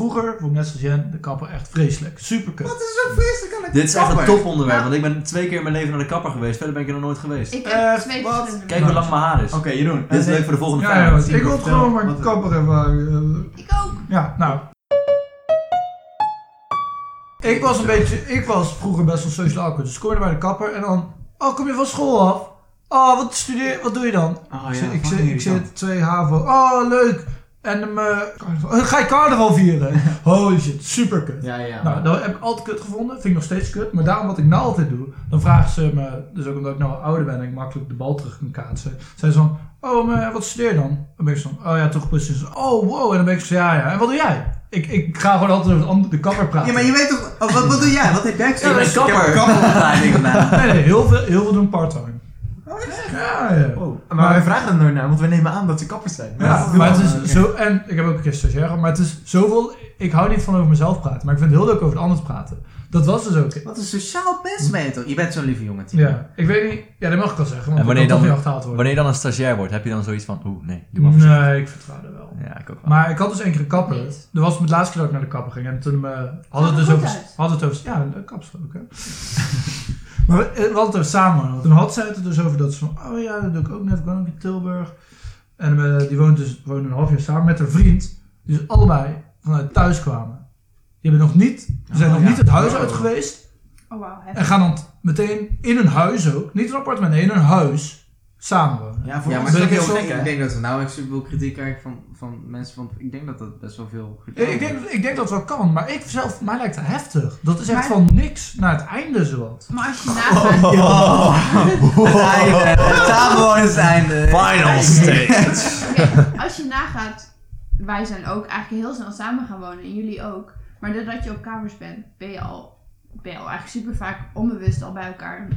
vroeger vond ik net zoals Jen de kapper echt vreselijk. Super kut. Wat is zo vreselijk aan de Dit is echt een kapper? toponderwerp, Ja. want ik ben twee keer in mijn leven naar de kapper geweest. Verder ben ik er nog nooit geweest. Ik heb Eh, twee wat? verschillende Kijk hoe lang mijn haar is. Oké, Jeroen. Dit is leuk voor de volgende Ja, ja, vraag. ik wil het vertel, gewoon maar wat- kapper hebben. Ik ook. Ja, nou. Ik was een beetje, ik was vroeger best wel social awkward. Dus ik kom je bij de kapper en dan, oh kom je van school af? Oh, wat studeer, wat doe je dan? Oh, ik, ja, zit, ik, fucking zit, ik irritant. zit twee havo, oh leuk. En ehm, eh, carnaval. Eh, ga je carnaval vieren? Holy shit, super kut. Ja, ja. Nou, dat heb ik altijd kut gevonden. Vind ik nog steeds kut. Maar daarom wat ik nou altijd doe, dan vragen ze me, dus ook omdat ik nou al ouder ben en ik makkelijk de bal terug kan kaatsen. Zijn ze van, oh, maar wat studeer je dan? Dan ben ik zo van, oh ja, toch precies. Oh, wow. En dan ben ik zo, ja, ja. En wat doe jij? Ik, ik ga gewoon altijd over de ander- de kapper praten. Ja, maar je weet toch... oh, wat, wat doe jij? Wat heb jij Ik gezien? ben kapper. Nee, nee, heel veel, heel veel doen part-time. Ja, ja. Oh. Maar, wij vragen er nooit naar, want we nemen aan dat ze kappers zijn. Ja, maar het is eh, zo, en ik heb ook een keer stagiair gehad, maar het is zoveel, ik hou niet van over mezelf praten, maar ik vind het heel leuk over de ander te praten. Dat was dus ook, Wat een sociaal mens ben je toch? Je bent zo'n lieve jongen, Tim. ja, ik weet niet, ja, dat mag ik wel zeggen, want En ik wanneer kan toch dan- weer achterhaald worden. Wanneer je dan een stagiair wordt, heb je dan zoiets van, oeh, nee, doe maar voorzichtig. Nee, ik vertrouw er wel. Ja, ik ook wel. Maar ik had dus één keer een kapper. Niet. Dat was het laatste keer dat ik naar de kapper ging. En toen eh Zag hadden we er het dus goed over... uit. Hadden we het over... Ja, een kapsel ook, hè. maar we, eh, we hadden het over samen. Toen had zij het er dus over dat ze van... Oh ja, dat doe ik ook net. Ik woon ook in Tilburg. En eh, die woont dus woonde een half jaar samen met haar vriend. Die dus allebei vanuit thuis kwamen. Die hebben nog niet... Ze zijn Oh, nog ja. niet het huis Oh. uit geweest. Oh wauw, heftig. En gaan dan t- meteen in hun huis ook. Niet een appartement, nee, in hun huis. Samen wonen. Ja, voor Ja, maar ons is Ben ik, dat ik heel zo- gek, ik hè? denk dat we nou echt superveel kritiek krijgen van, van mensen, want ik denk dat dat best wel veel Ja, Oh. kritiek ik, denk, ik denk dat het wel kan, maar ik zelf, mij lijkt het heftig. Dat is echt Maar- van niks naar het einde zowat. Maar als je nagaat... Oh. Het einde. Het samenwonen is het einde. Final stage. Oké, als je nagaat, wij zijn ook eigenlijk heel snel samen gaan wonen en jullie ook. Maar doordat je op kamers bent, ben je al, ben je al eigenlijk super vaak onbewust al bij elkaar.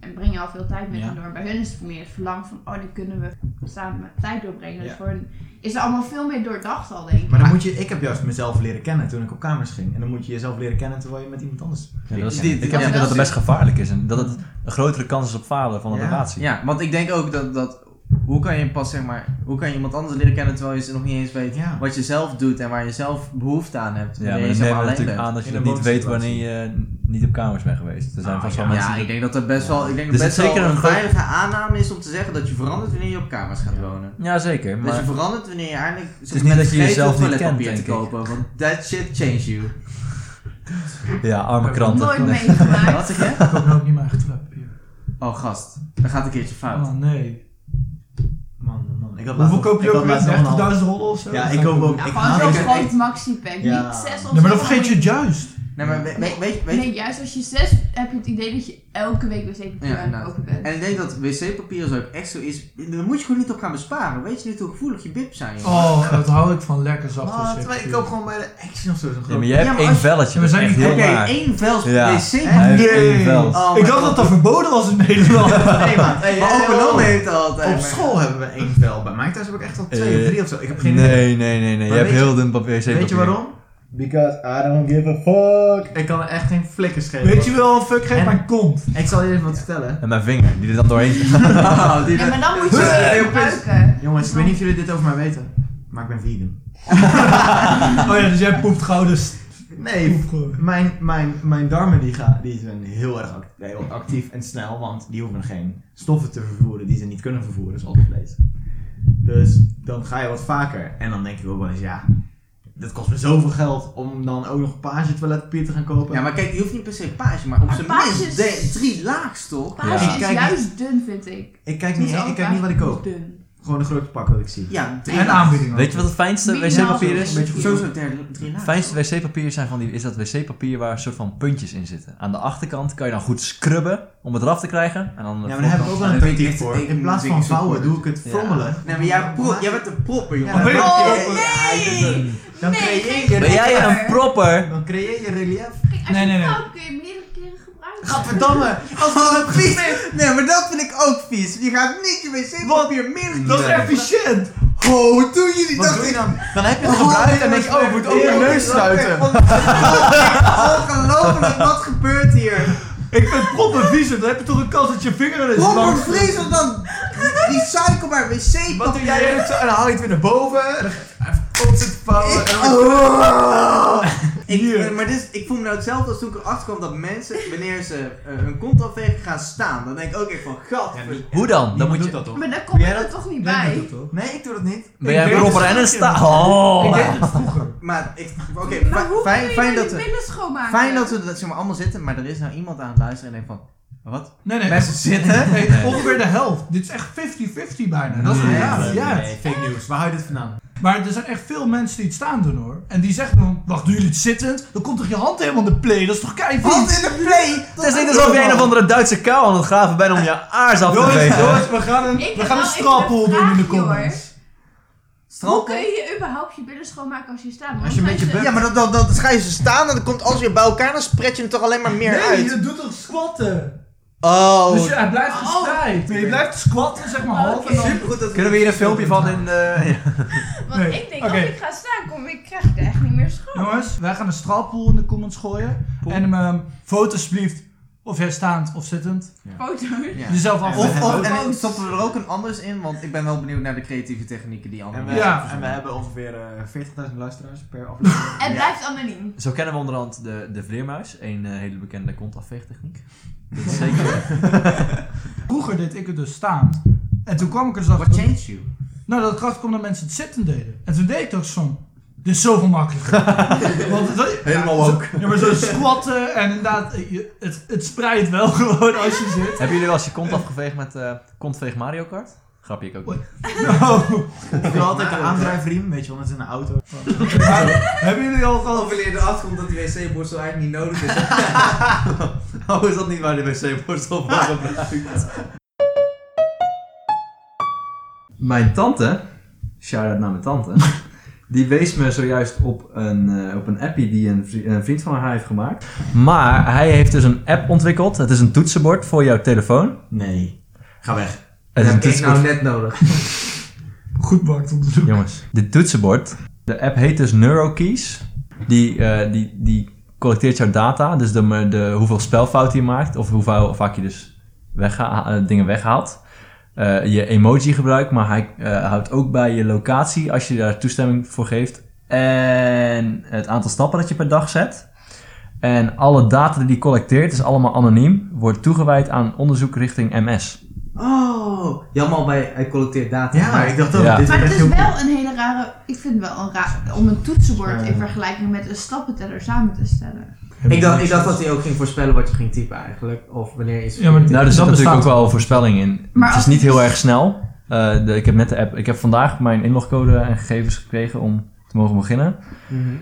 En breng je al veel tijd met Ja. hen door. Bij hun is het meer het verlangen van, oh, die kunnen we samen tijd doorbrengen. Dus Ja. voor hen is er allemaal veel meer doordacht al, denk ik. Maar dan moet je, ik heb juist mezelf leren kennen toen ik op kamers ging. En dan moet je jezelf leren kennen terwijl je met iemand anders... Ja, dat is- Die- die- ik heb ja, gezien dat dat het is- best gevaarlijk is en dat het een grotere kans is op falen van een Ja. relatie. Ja, want ik denk ook dat, dat hoe kan je pas zeg maar, hoe kan je iemand anders leren kennen terwijl je ze nog niet eens weet Ja. wat je zelf doet en waar je zelf behoefte aan hebt. Ja, wanneer maar je dan zeg nemen maar we alleen natuurlijk bent. aan dat je In een niet weet wanneer woonsituatie. je eh, niet op kamers bent geweest. Er zijn Ah, vast wel ja. mensen Ja, ik denk dat dat best wel, ik denk Er dat zit best wel zeker een een groot- veilige aanname is om te zeggen dat je verandert wanneer je op kamers gaat wonen. Ja, zeker. Dat Maar Dus je verandert wanneer je eigenlijk het niet dat je jezelf niet kent, te denk ik. kopen, want that shit changes you. ja, arme kranten. Nooit Nee. Wat meegemaakt. zeg je? Ik koop nou ook niet mijn eigen toiletpapier. Oh gast, dat gaat een keertje fout. Oh nee. Man, man, man. Ik had Hoeveel laatst- koop je ik ook had laatst nog een half- weer? 30.000 rollen of zo? Ja, ik koop ook... Nou, ik gewoon haat zo'n het- groot ik- maxi-pack. Ja. Niet zes of Nee, maar dan zo. vergeet je het juist. Nee, maar weet, weet, weet, weet- Nee, juist als je zes heb je het idee dat je elke week wc-papier Ja, aan het inderdaad. kopen bent. En ik denk dat wc-papier zo ook echt zo is. Daar moet je gewoon niet op gaan besparen. Weet je niet hoe gevoelig je bips zijn? jongen? Oh, dat hou ik van lekker zacht. Ah, wc-papier. terwijl ik koop gewoon bij de Action of zo zo'n Ja, maar groot... jij Ja, hebt maar één als je- Ja, velletje. we Dat is zijn echt niet- heel Heb jij naar. één vels Ja. wc-papier? Hij heeft Nee. één vels. Oh, ik maar dacht dat god. dat verboden was in Nederland. Nee, man. Hey, Maar hey, ook hey, een hey. heeft altijd. Op maar- school hebben we één vel. Bij mij thuis heb ik echt al twee Eh, of drie of zo. Ik heb geen Nee, idee. nee, nee, nee. Je Maar hebt weet je- heel dun papier. wc-papier. Weet je waarom? Because I don't give a fuck. Ik kan er echt geen flikkers geven. Weet je wel, fuck, geef En- mijn kont. Ik zal je even wat vertellen. En mijn vinger, die er dan doorheen Nou, Oh, die Ja, maar dan moet je Huh? het Heel gebruiken. Jongens, ik weet niet of jullie dit over mij weten, maar ik ben vegan. Oh ja, dus jij poept gouden Nee, poep gewoon. mijn, mijn, mijn darmen die gaan, die zijn heel erg act- heel actief en snel, want die hoeven geen stoffen te vervoeren die ze niet kunnen vervoeren, zoals vlees. Dus dan ga je wat vaker en dan denk ik ook wel eens, ja, dat kost me zoveel geld om dan ook nog page toiletpapier te gaan kopen. Ja, maar kijk, die hoeft niet per se page, maar op Maar zijn page minst is- de- drie laags toch? Paasje Ja. is Kijk, juist dun, vind ik. ik kijk niet, ik kijk niet wat ik koop. Dun. Gewoon de grote pak wat ik zie. Ja, drie En laags. aanbiedingen. Weet je wat het fijnste Minimaal wc-papier zo'n is? Een beetje goed. Sowieso derde- drie Het laags. fijnste wc-papier zijn van die, is dat wc-papier waar een soort van puntjes in zitten. Aan de achterkant kan je dan goed scrubben om het eraf te krijgen. En dan de Ja, maar daar heb ik ook wel een vind ik tactiek echt- voor. ik In plaats vind van het zo vouwen goed. doe ik het frommelen. Nee, maar jij, pro- jij bent een propper, jongen. Ja, ben je- Oh, nee! Dan Nee, creëer geen- Ben je, jij een propper? dan creëer je relief. Kijk, als Nee, je nee, het nee. koopt kun je hem meerdere keren gebruiken. Gadverdamme! Als een vies. Nee, maar dat vind ik ook vies. Je gaat niet je wc-papier meer Dat is efficiënt. Ho, doe je niet? Wat Dat doe is je dan? Dan heb je het gebruikt en denk je, oh, ik moet ook mijn neus sluiten. Ongelooflijk, wat gebeurt hier? Ik vind proppen vies, dan heb je toch een kans dat je vinger er is. Proper langs- vlees of dan recyclebaar wc-papier? Wat doe jij? En dan haal je het weer naar boven. En dan kotst het vouwen. Ik- Oh. Ik, Hier. eh, maar dit, is- ik voel me nou hetzelfde als toen ik erachter kwam dat mensen, wanneer ze eh, hun kont afvegen, gaan staan. Dan denk ik ook echt van, gat. Ja, ver- Hoe dan? Dan Niemand moet doet je... dat toch? Maar daar kom je Jij er dat- toch niet Jij bij. doet dat toch? Nee, ik doe dat niet. Ben Ik jij deed proper het en een vroeger. sta... Oh. Ik deed het vroeger. Maar ik, oké, maar fi- hoe fijn, kun je fijn nou dat die we, billen schoonmaken? fijn dat we dat, zeg maar, allemaal zitten, maar er is nou iemand aan het luisteren en denkt van, wat? Nee, nee. Mensen zitten? Nee, Nee. ongeveer de helft. Dit is echt 50-50 bijna. Dat is Nee, ja, nee, ja. nee, fake news. Waar hou je dit vandaan? Maar er zijn echt veel mensen die het staan doen hoor. En die zeggen dan, wacht, doen jullie het zittend? Dan komt toch je hand helemaal in de play? Dat is toch keihard? Hand in de play! Het is niet alsof je een of andere Duitse kou aan het graven bent om je aars af te vegen. Dus we gaan een, Ik heb Nou, wel even een vraagje, hoor. Hoe kun je überhaupt je billen schoonmaken als je staat? Als je een beetje bent. bukt. Ja, maar dan, dan, dan ga je ze staan en dan komt alles weer bij elkaar en dan spread je het toch alleen maar meer Nee, uit. je doet toch squatten? Oh, Dus je, hij blijft Oh. gestrijd. je blijft squatten, zeg maar half. En dan... supergoed dat Kunnen we hier een filmpje van in... eh, ja. Want Nee, ik denk, oké. als ik ga staan, kom ik, krijg ik er echt niet meer schoon. Jongens, wij gaan een straalpool in de comments gooien. Poel. En hem ehm, foto's alsjeblieft. Of jij staand of zittend. Foto's. Ja. Jezelf af. we Of, hebben of ook- en dan stoppen we er ook een anders in, want ik ben wel benieuwd naar de creatieve technieken die En anderen we, Ja. en we hebben ongeveer eh 40.000 luisteraars per aflevering. Het blijft anoniem. Zo kennen we onderhand de, de vleermuis. Een eh, hele bekende kontafveegtechniek. Dat is zeker. Vroeger deed ik het dus staan. En toen kwam ik er dus achter. What changed you? Nou, dat kracht komt dat mensen het zitten deden. En toen deed ik toch zo'n. Dit is zoveel makkelijker. Want dat, Helemaal ook. Ja, maar zo squatten en inderdaad, eh, je- het, het spreidt wel gewoon als je zit. Hebben jullie wel eens je kont afgeveegd met eh kontveeg Mario Kart? Grapje, ik ook niet. Nou, Ik wil altijd een aandrijfriem, weet je wel, net in een auto. maar hebben jullie al Of gehad? wanneer je erachter komt dat die wc-borstel eigenlijk niet nodig is. Oh, is dat niet waar de wc-borstel voor gebruikt? Mijn tante, shout-out naar mijn tante, die wees me zojuist op een, eh, op een appie die een, vri- een vriend van haar heeft gemaakt. Maar hij heeft dus een app ontwikkeld. Het is een toetsenbord voor jouw telefoon. Nee. Ga weg. Het is een toetsenbord. net nodig. Goed markt onderzoek. Jongens, dit toetsenbord. De app heet dus NeuroKeys. Die, eh, die, die collecteert jouw data. Dus de, de, hoeveel spelfouten je maakt. Of hoe va- vaak je dus wegga- eh, dingen weghaalt. Eh, je emoji gebruikt. Maar hij eh, houdt ook bij je locatie. Als je daar toestemming voor geeft. En het aantal stappen dat je per dag zet. En alle data die die collecteert is allemaal anoniem. Wordt toegewijd aan onderzoek richting MS. Oh, jammer al bij, hij collecteert data. Ja, maar ik dacht ook, Ja. dit Maar wordt het echt is heel wel een hele rare... Ik vind het wel een raar om een toetsenbord Ja. in vergelijking met een stappenteller samen te stellen. ik, dacht, ik dacht dat hij ook ging voorspellen wat je ging typen eigenlijk. Of wanneer is Ja, maar dit- Nou, er zit dat natuurlijk ook bestaat. wel een voorspelling in. Maar het is als- niet heel erg snel. Eh, de- ik heb net de app. Ik heb vandaag mijn inlogcode en gegevens gekregen om te mogen beginnen. Mhm.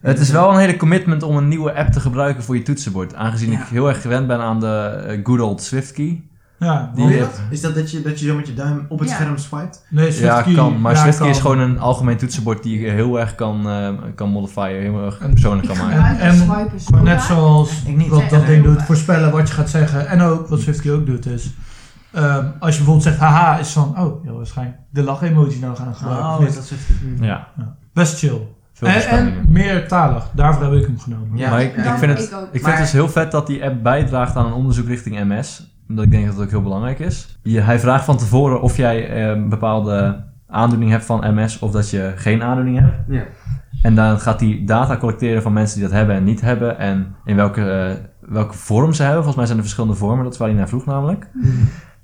Het is wel een hele commitment om een nieuwe app te gebruiken voor je toetsenbord. Aangezien ik heel erg gewend ben aan de eh, good old SwiftKey. Ja, Die- Hoor je Ja. dat? Is dat dat je, dat je zo met je duim op het Ja. scherm swipet? nee, Ja, SwiftKey- kan. Maar ja, SwiftKey kan. is gewoon een algemeen toetsenbord die je heel erg kan, eh kan modifieren. Heel erg En- persoonlijk Ik kan maken. gebruik En- dat swipen zo Maar net vaak. zoals Ik niet. wat Nee, dat nee, ding heel doet, vaak. voorspellen wat je gaat zeggen. En ook, wat SwiftKey ook doet, is... ehm, als je bijvoorbeeld zegt haha, is van... Oh, ja, waarschijnlijk de lach-emoji nou gaan gebruiken. Oh, of niet. dat hmm. soort... Ja, Best chill. veel En, voorspellingen. en meertalig. Daarvoor heb ik hem genomen. Ja. maar ik, Ja, ik vind het, ik ook. ik vind Maar- het dus heel vet dat die app bijdraagt aan een onderzoek richting MS. Omdat ik denk dat dat ook heel belangrijk is. Je, hij vraagt van tevoren of jij eh, een bepaalde aandoening hebt van MS of dat je geen aandoening hebt. Ja. En dan gaat hij data collecteren van mensen die dat hebben en niet hebben. En in welke, eh, welke vorm ze hebben. Volgens mij zijn er verschillende vormen. Dat is waar hij naar vroeg namelijk. Mhm.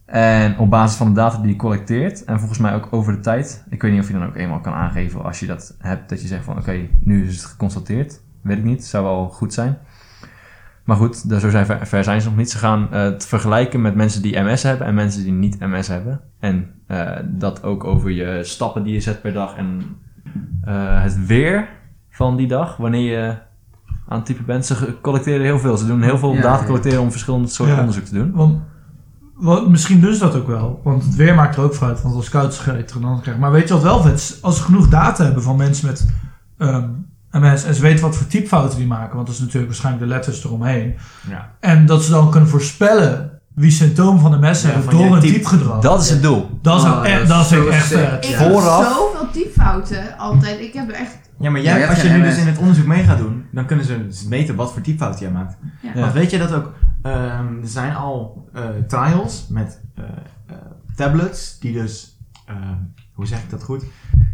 En op basis van de data die hij collecteert. En volgens mij ook over de tijd. Ik weet niet of je dan ook eenmaal kan aangeven als je dat hebt. Dat je zegt van oké, nu is het geconstateerd. Weet ik niet. Zou wel goed zijn. Maar goed, daar zo zijn ver, ver zijn ze nog niet. Ze gaan eh, het vergelijken met mensen die MS hebben en mensen die niet MS hebben. En eh, dat ook over je stappen die je zet per dag en eh, het weer van die dag, wanneer je aan het typen bent. Ze ge- collecteren heel veel. Ze doen heel veel Ja, data ja. collecteren om verschillende soorten Ja. onderzoek te doen. Want, wat, misschien dus dat ook wel. Want het weer maakt er ook voor uit. Want als het koud is, ga je het er dan krijgen. Maar weet je wat wel vet is? Als ze genoeg data hebben van mensen met ehm, MS... en ze weten wat voor typfouten die maken... want dat is natuurlijk waarschijnlijk de letters eromheen... Ja. en dat ze dan kunnen voorspellen wie symptomen van MS Ja, hebben... van je door een type. typgedrag. Dat, Dat is het doel. zou Oh, echt- dat is dat vind zo ik echt sick. vet. Ik Ja. heb Vooraf- zoveel typfouten altijd. Ik heb er echt... Ja, maar Ja, jij, jij als je hebt nu geen dus MS. in het onderzoek mee gaat doen, dan kunnen ze dus meten wat voor typfout jij maakt. Ja. Want weet je dat ook, ehm, er zijn al eh, trials met eh, eh, tablets die dus, ehm, hoe zeg ik dat goed,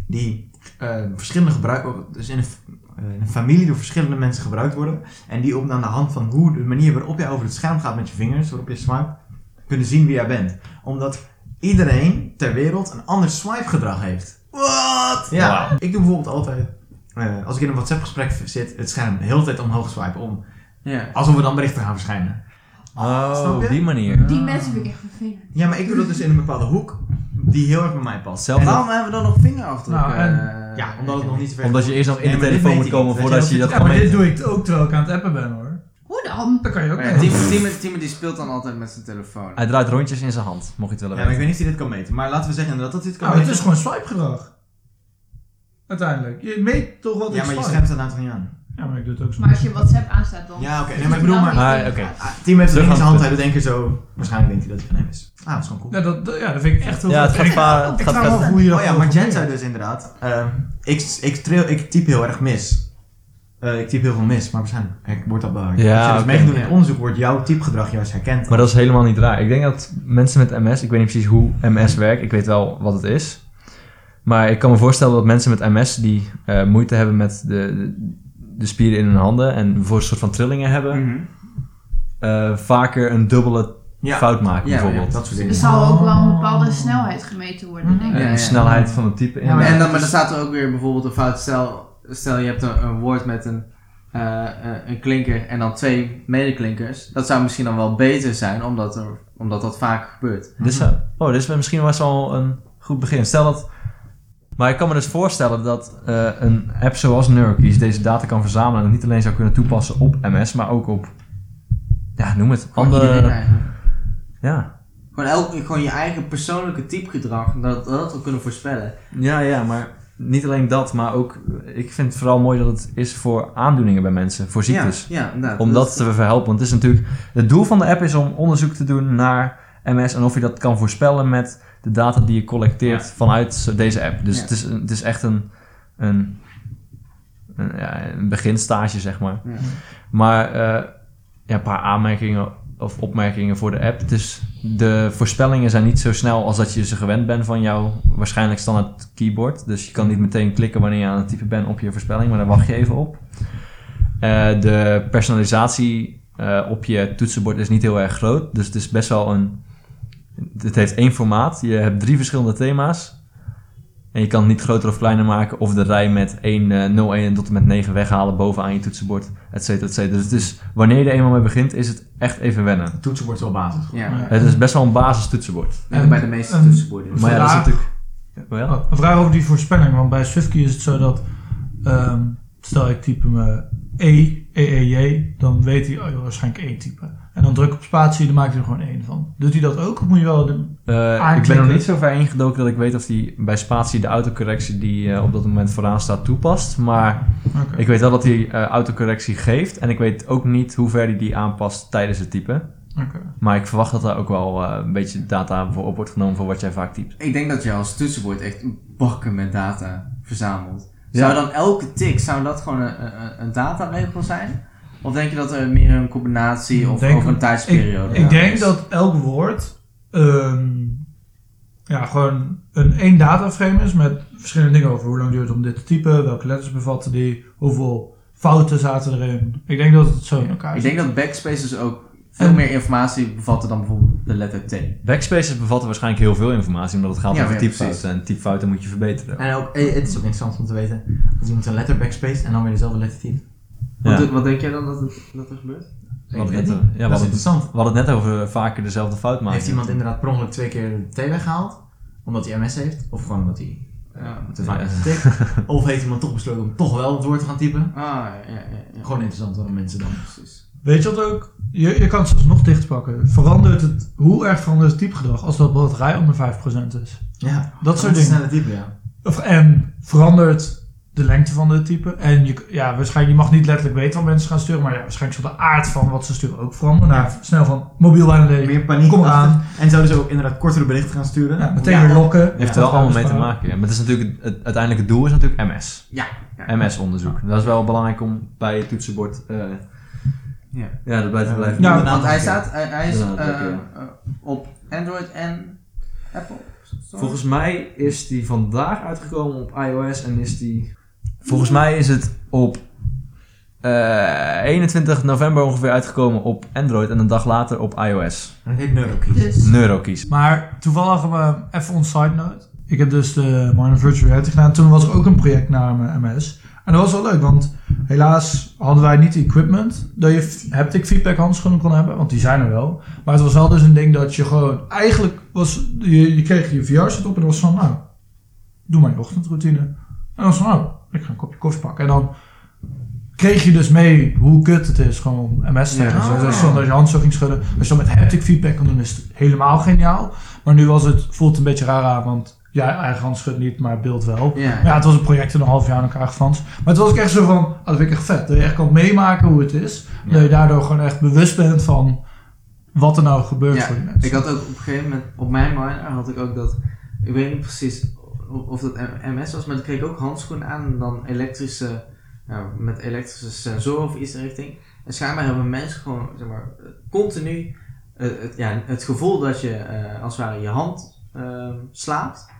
die eh, verschillende gebruikers, dus in een v- eh, in een familie door verschillende mensen gebruikt worden. En die op aan de hand van hoe de manier waarop jij over het scherm gaat met je vingers, waarop je swipe, kunnen zien wie jij bent. Omdat iedereen ter wereld een ander swipe gedrag heeft. Wat? Ja, Wauw. ik doe bijvoorbeeld altijd, eh, als ik in een WhatsApp gesprek zit, het scherm de hele tijd omhoog swipen om. Ja. Alsof er dan berichten gaan verschijnen. Oh, Snap op je? die manier. Die mensen vind ik echt vervelend. Ja, maar ik doe dat dus in een bepaalde hoek die heel erg bij mij past. Zelfde- En dan- Waarom hebben we dan nog vingerafdrukken? Nou, en- eh, ja, omdat het nog niet zo ver Omdat je eerst nog in Nee, de maar dit telefoon weet moet ik komen niet. Weet voordat je je dat dat het- Ja, kan maar dit meten. doe ik ook terwijl ik aan het appen ben hoor. Hoe dan? Dat kan je ook niet. Eh, Tim- Tim- Timothy speelt dan altijd met zijn telefoon. Hij draait rondjes in zijn hand, mocht je het willen Ja, maar ik weten. weet niet of hij dit kan meten. Maar laten we zeggen inderdaad dat hij dit kan Nou, het meten. is gewoon swipegedrag. Uiteindelijk. Je meet toch wat ik ja, maar je swipe. scherm staat nou toch niet aan? Ja, maar ik doe het ook zo. Maar als je WhatsApp aanstaat dan. Ja, oké. Dus Nee, maar ik dan bedoel maar... niet Ah, in de oké. gaten. Ah, Tim heeft het in zijn hand. Terughandpunt. Hij doet één keer zo... Waarschijnlijk denkt hij dat het van hem is. Ah, dat is gewoon cool. Ja, dat, dat- ja, dat vind ik echt heel Ja, het vet. gaat varen. Het Ik gaat vraag me varen. af hoe je dat Oh ja, maar Jen zei dus inderdaad... ehm, ik, ik, trail, ik typ heel erg mis. Eh, ik typ heel veel mis, maar waarschijnlijk ik word dat behaald. Ja, Als je dus oké. meedoet in het onderzoek, wordt jouw typgedrag juist herkend. Maar dat is helemaal niet raar. Ik denk dat mensen met MS, ik weet niet precies hoe MS werkt, ik weet wel wat het is. Maar ik kan me voorstellen dat mensen met MS die eh, moeite hebben met de, de, de spieren in hun handen en bijvoorbeeld een soort van trillingen hebben, Mhm. eh, vaker een dubbele fout maken Ja, bijvoorbeeld. dat soort Er dingen. zal ook wel een bepaalde snelheid gemeten worden, denk Eh, ik. Ja, ja. de snelheid van het type. Ja, maar- en inderdaad. dan maar dan staat er ook weer bijvoorbeeld een fout. Stel, stel je hebt een, een woord met een, eh, eh, een klinker en dan twee medeklinkers. Dat zou misschien dan wel beter zijn, omdat, er, omdat dat vaak gebeurt. Dit zou- oh, dit is misschien wel al een goed begin. Stel dat... Maar ik kan me dus voorstellen dat eh, een app zoals NeuroKeys deze data kan verzamelen... en het niet alleen zou kunnen toepassen op MS, maar ook op... Ja, noem het. Gewoon iedereen Andere... eigenlijk. Ja. Gewoon, elk, gewoon je eigen persoonlijke typgedrag, dat dat we kunnen voorspellen. ja, ja, maar niet alleen dat, maar ook... Ik vind het vooral mooi dat het is voor aandoeningen bij mensen, voor ziektes. Ja, ja inderdaad. om dat te verhelpen. Want het is natuurlijk... Het doel van de app is om onderzoek te doen naar MS... en of je dat kan voorspellen met de data die je collecteert vanuit deze app. Dus Ja. het, is, een- het is echt een, een, een, ja, een beginstage, zeg maar. Ja. Maar eh, ja, een paar aanmerkingen of opmerkingen voor de app. Het is, de voorspellingen zijn niet zo snel als dat je ze gewend bent van jouw waarschijnlijk standaard keyboard. Dus je kan niet meteen klikken wanneer je aan het typen bent op je voorspelling, maar daar wacht je even op. Eh, de personalisatie eh, op je toetsenbord is niet heel erg groot. Dus het is best wel een. Het heeft één formaat. Je hebt drie verschillende thema's. En je kan het niet groter of kleiner maken. Of de rij met 1, eh, 01 en tot en met 9 weghalen bovenaan je toetsenbord. Et cetera, et cetera. Dus het is, wanneer je er eenmaal mee begint, is het echt even wennen. Het toetsenbord is wel basis. Ja, Ja. Het is best wel een basis toetsenbord. en bij de meeste En- toetsenborden. Maar ja, dat is Vandaag- natuurlijk. Wel? Oh, een vraag over die voorspelling, want bij Swiftkey is het zo dat, ehm, stel ik type me E, E, E, J, dan weet hij, oh joh, waarschijnlijk één type. En dan druk op spatie, dan maakt hij er gewoon één van. Doet hij dat ook, of moet je wel... De, Eh, ik ben Aanklikken. nog niet zo ver ingedoken dat ik weet of die bij spatie de autocorrectie die eh, op dat moment vooraan staat toepast. Maar Oké. ik weet wel dat hij eh, autocorrectie geeft. En ik weet ook niet hoe ver hij die aanpast tijdens het typen. Oké. Maar ik verwacht dat daar ook wel eh, een beetje data voor op wordt genomen voor wat jij vaak typt. Ik denk dat je als toetsenbord echt bakken met data verzamelt. Zou dan elke tik, zou dat gewoon een, een, een dataregel zijn? Of denk je dat er meer een combinatie of Denk- over een tijdsperiode Ik denk is? dat elk woord ehm, ja, gewoon een één dataframe is met verschillende dingen over hoe lang duurt het om dit te typen, welke letters bevatten die, hoeveel fouten zaten erin. Ik denk dat het zo in elkaar Ik zit. denk dat backspaces ook veel En- meer informatie bevatten dan bijvoorbeeld de letter T. Backspaces bevatten waarschijnlijk heel veel informatie, omdat het gaat Ja, over ja, typfouten. precies. En typfouten moet je verbeteren. En ook, eh, het is ook interessant om te weten dat iemand een letter backspace en dan weer dezelfde letter typt. Ja. Wat, wat denk jij dan dat, het- dat er gebeurt? We hadden Ik het weet net- niet. ja, we dat is hadden het- interessant. we hadden het net over vaker dezelfde fout maken. Heeft iemand inderdaad per ongeluk twee keer de T weggehaald? Omdat hij MS heeft? Of gewoon omdat hij Ja. te vaak Ja. heeft getikt? Of heeft iemand toch besloten om toch wel het woord te gaan typen? Ah, ja, ja, ja, ja. Gewoon interessant waarom mensen dan. precies. Weet je wat ook? Je, je kan het zelfs nog dichtpakken. Verandert het, hoe erg verandert het typgedrag als dat batterij onder 5% is? Ja, Dat soort dingen. snelle typen, ja. Of, en verandert de lengte van de type? En je, ja, waarschijnlijk, je mag niet letterlijk weten wat mensen gaan sturen, maar ja, waarschijnlijk zal de aard van wat ze sturen ook veranderen. Nou, snel van mobiel bijna leeg. Meer paniek. Kom eraan. En zouden ze ook inderdaad kortere berichten gaan sturen? Ja, meteen weer lokken. Heeft er Dat wel allemaal mee te bespreken. maken. ja. Maar het is natuurlijk, het, het uiteindelijke doel is natuurlijk MS. Ja, ja. MS-onderzoek. Dat is wel belangrijk om bij je toetsenbord eh Ja. ja. dat bij te blijven. Ja, doen. Want hij staat, hij, hij is Ja, dat eh, ook, ja. eh, op Android en Apple. Sorry. Volgens mij is die vandaag uitgekomen op iOS en is die... Volgens mij is het op eh, 21 november ongeveer uitgekomen op Android en een dag later op iOS. Het heet Neurokies. Dus Neurokies. Maar toevallig, eh, even on side note. Ik heb dus de Minor Virtual Reality gedaan. Toen was er ook een project naar mijn MS. En dat was wel leuk, want helaas hadden wij niet equipment dat je f- haptic feedback handschoenen kon hebben, want die zijn er wel. Maar het was wel dus een ding dat je gewoon, eigenlijk was, je, je kreeg je VR-set op en dat was van, nou, doe maar je ochtendroutine. En dan was van, nou, ik ga een kopje koffie pakken. En dan kreeg je dus mee hoe kut het is, gewoon MS te Ja, hebben. ah. Zo, dus van dat je hand zo ging schudden. Als je dat met haptic feedback kon doen, is het helemaal geniaal. Maar nu was het, voelt het een beetje raar aan, want jij eigen hand schudt niet, maar beeld wel. Ja. Maar ja, het was een project in een half jaar aan elkaar geflanst. Maar toen was ik echt zo van, ah, dat vind ik echt vet. Dat je echt kan meemaken hoe het is. Ja. Dat je daardoor gewoon echt bewust bent van wat er nou gebeurt Ja, voor die mensen. Ik had ook op een gegeven moment, op mijn minor had ik ook dat, ik weet niet precies of- of dat M- MS was, maar ik kreeg ook handschoenen aan en dan elektrische, nou, met elektrische sensoren of iets in die richting. En schijnbaar hebben mensen gewoon, zeg maar, continu eh, het, ja, het gevoel dat je eh, als het ware je hand eh, slaat.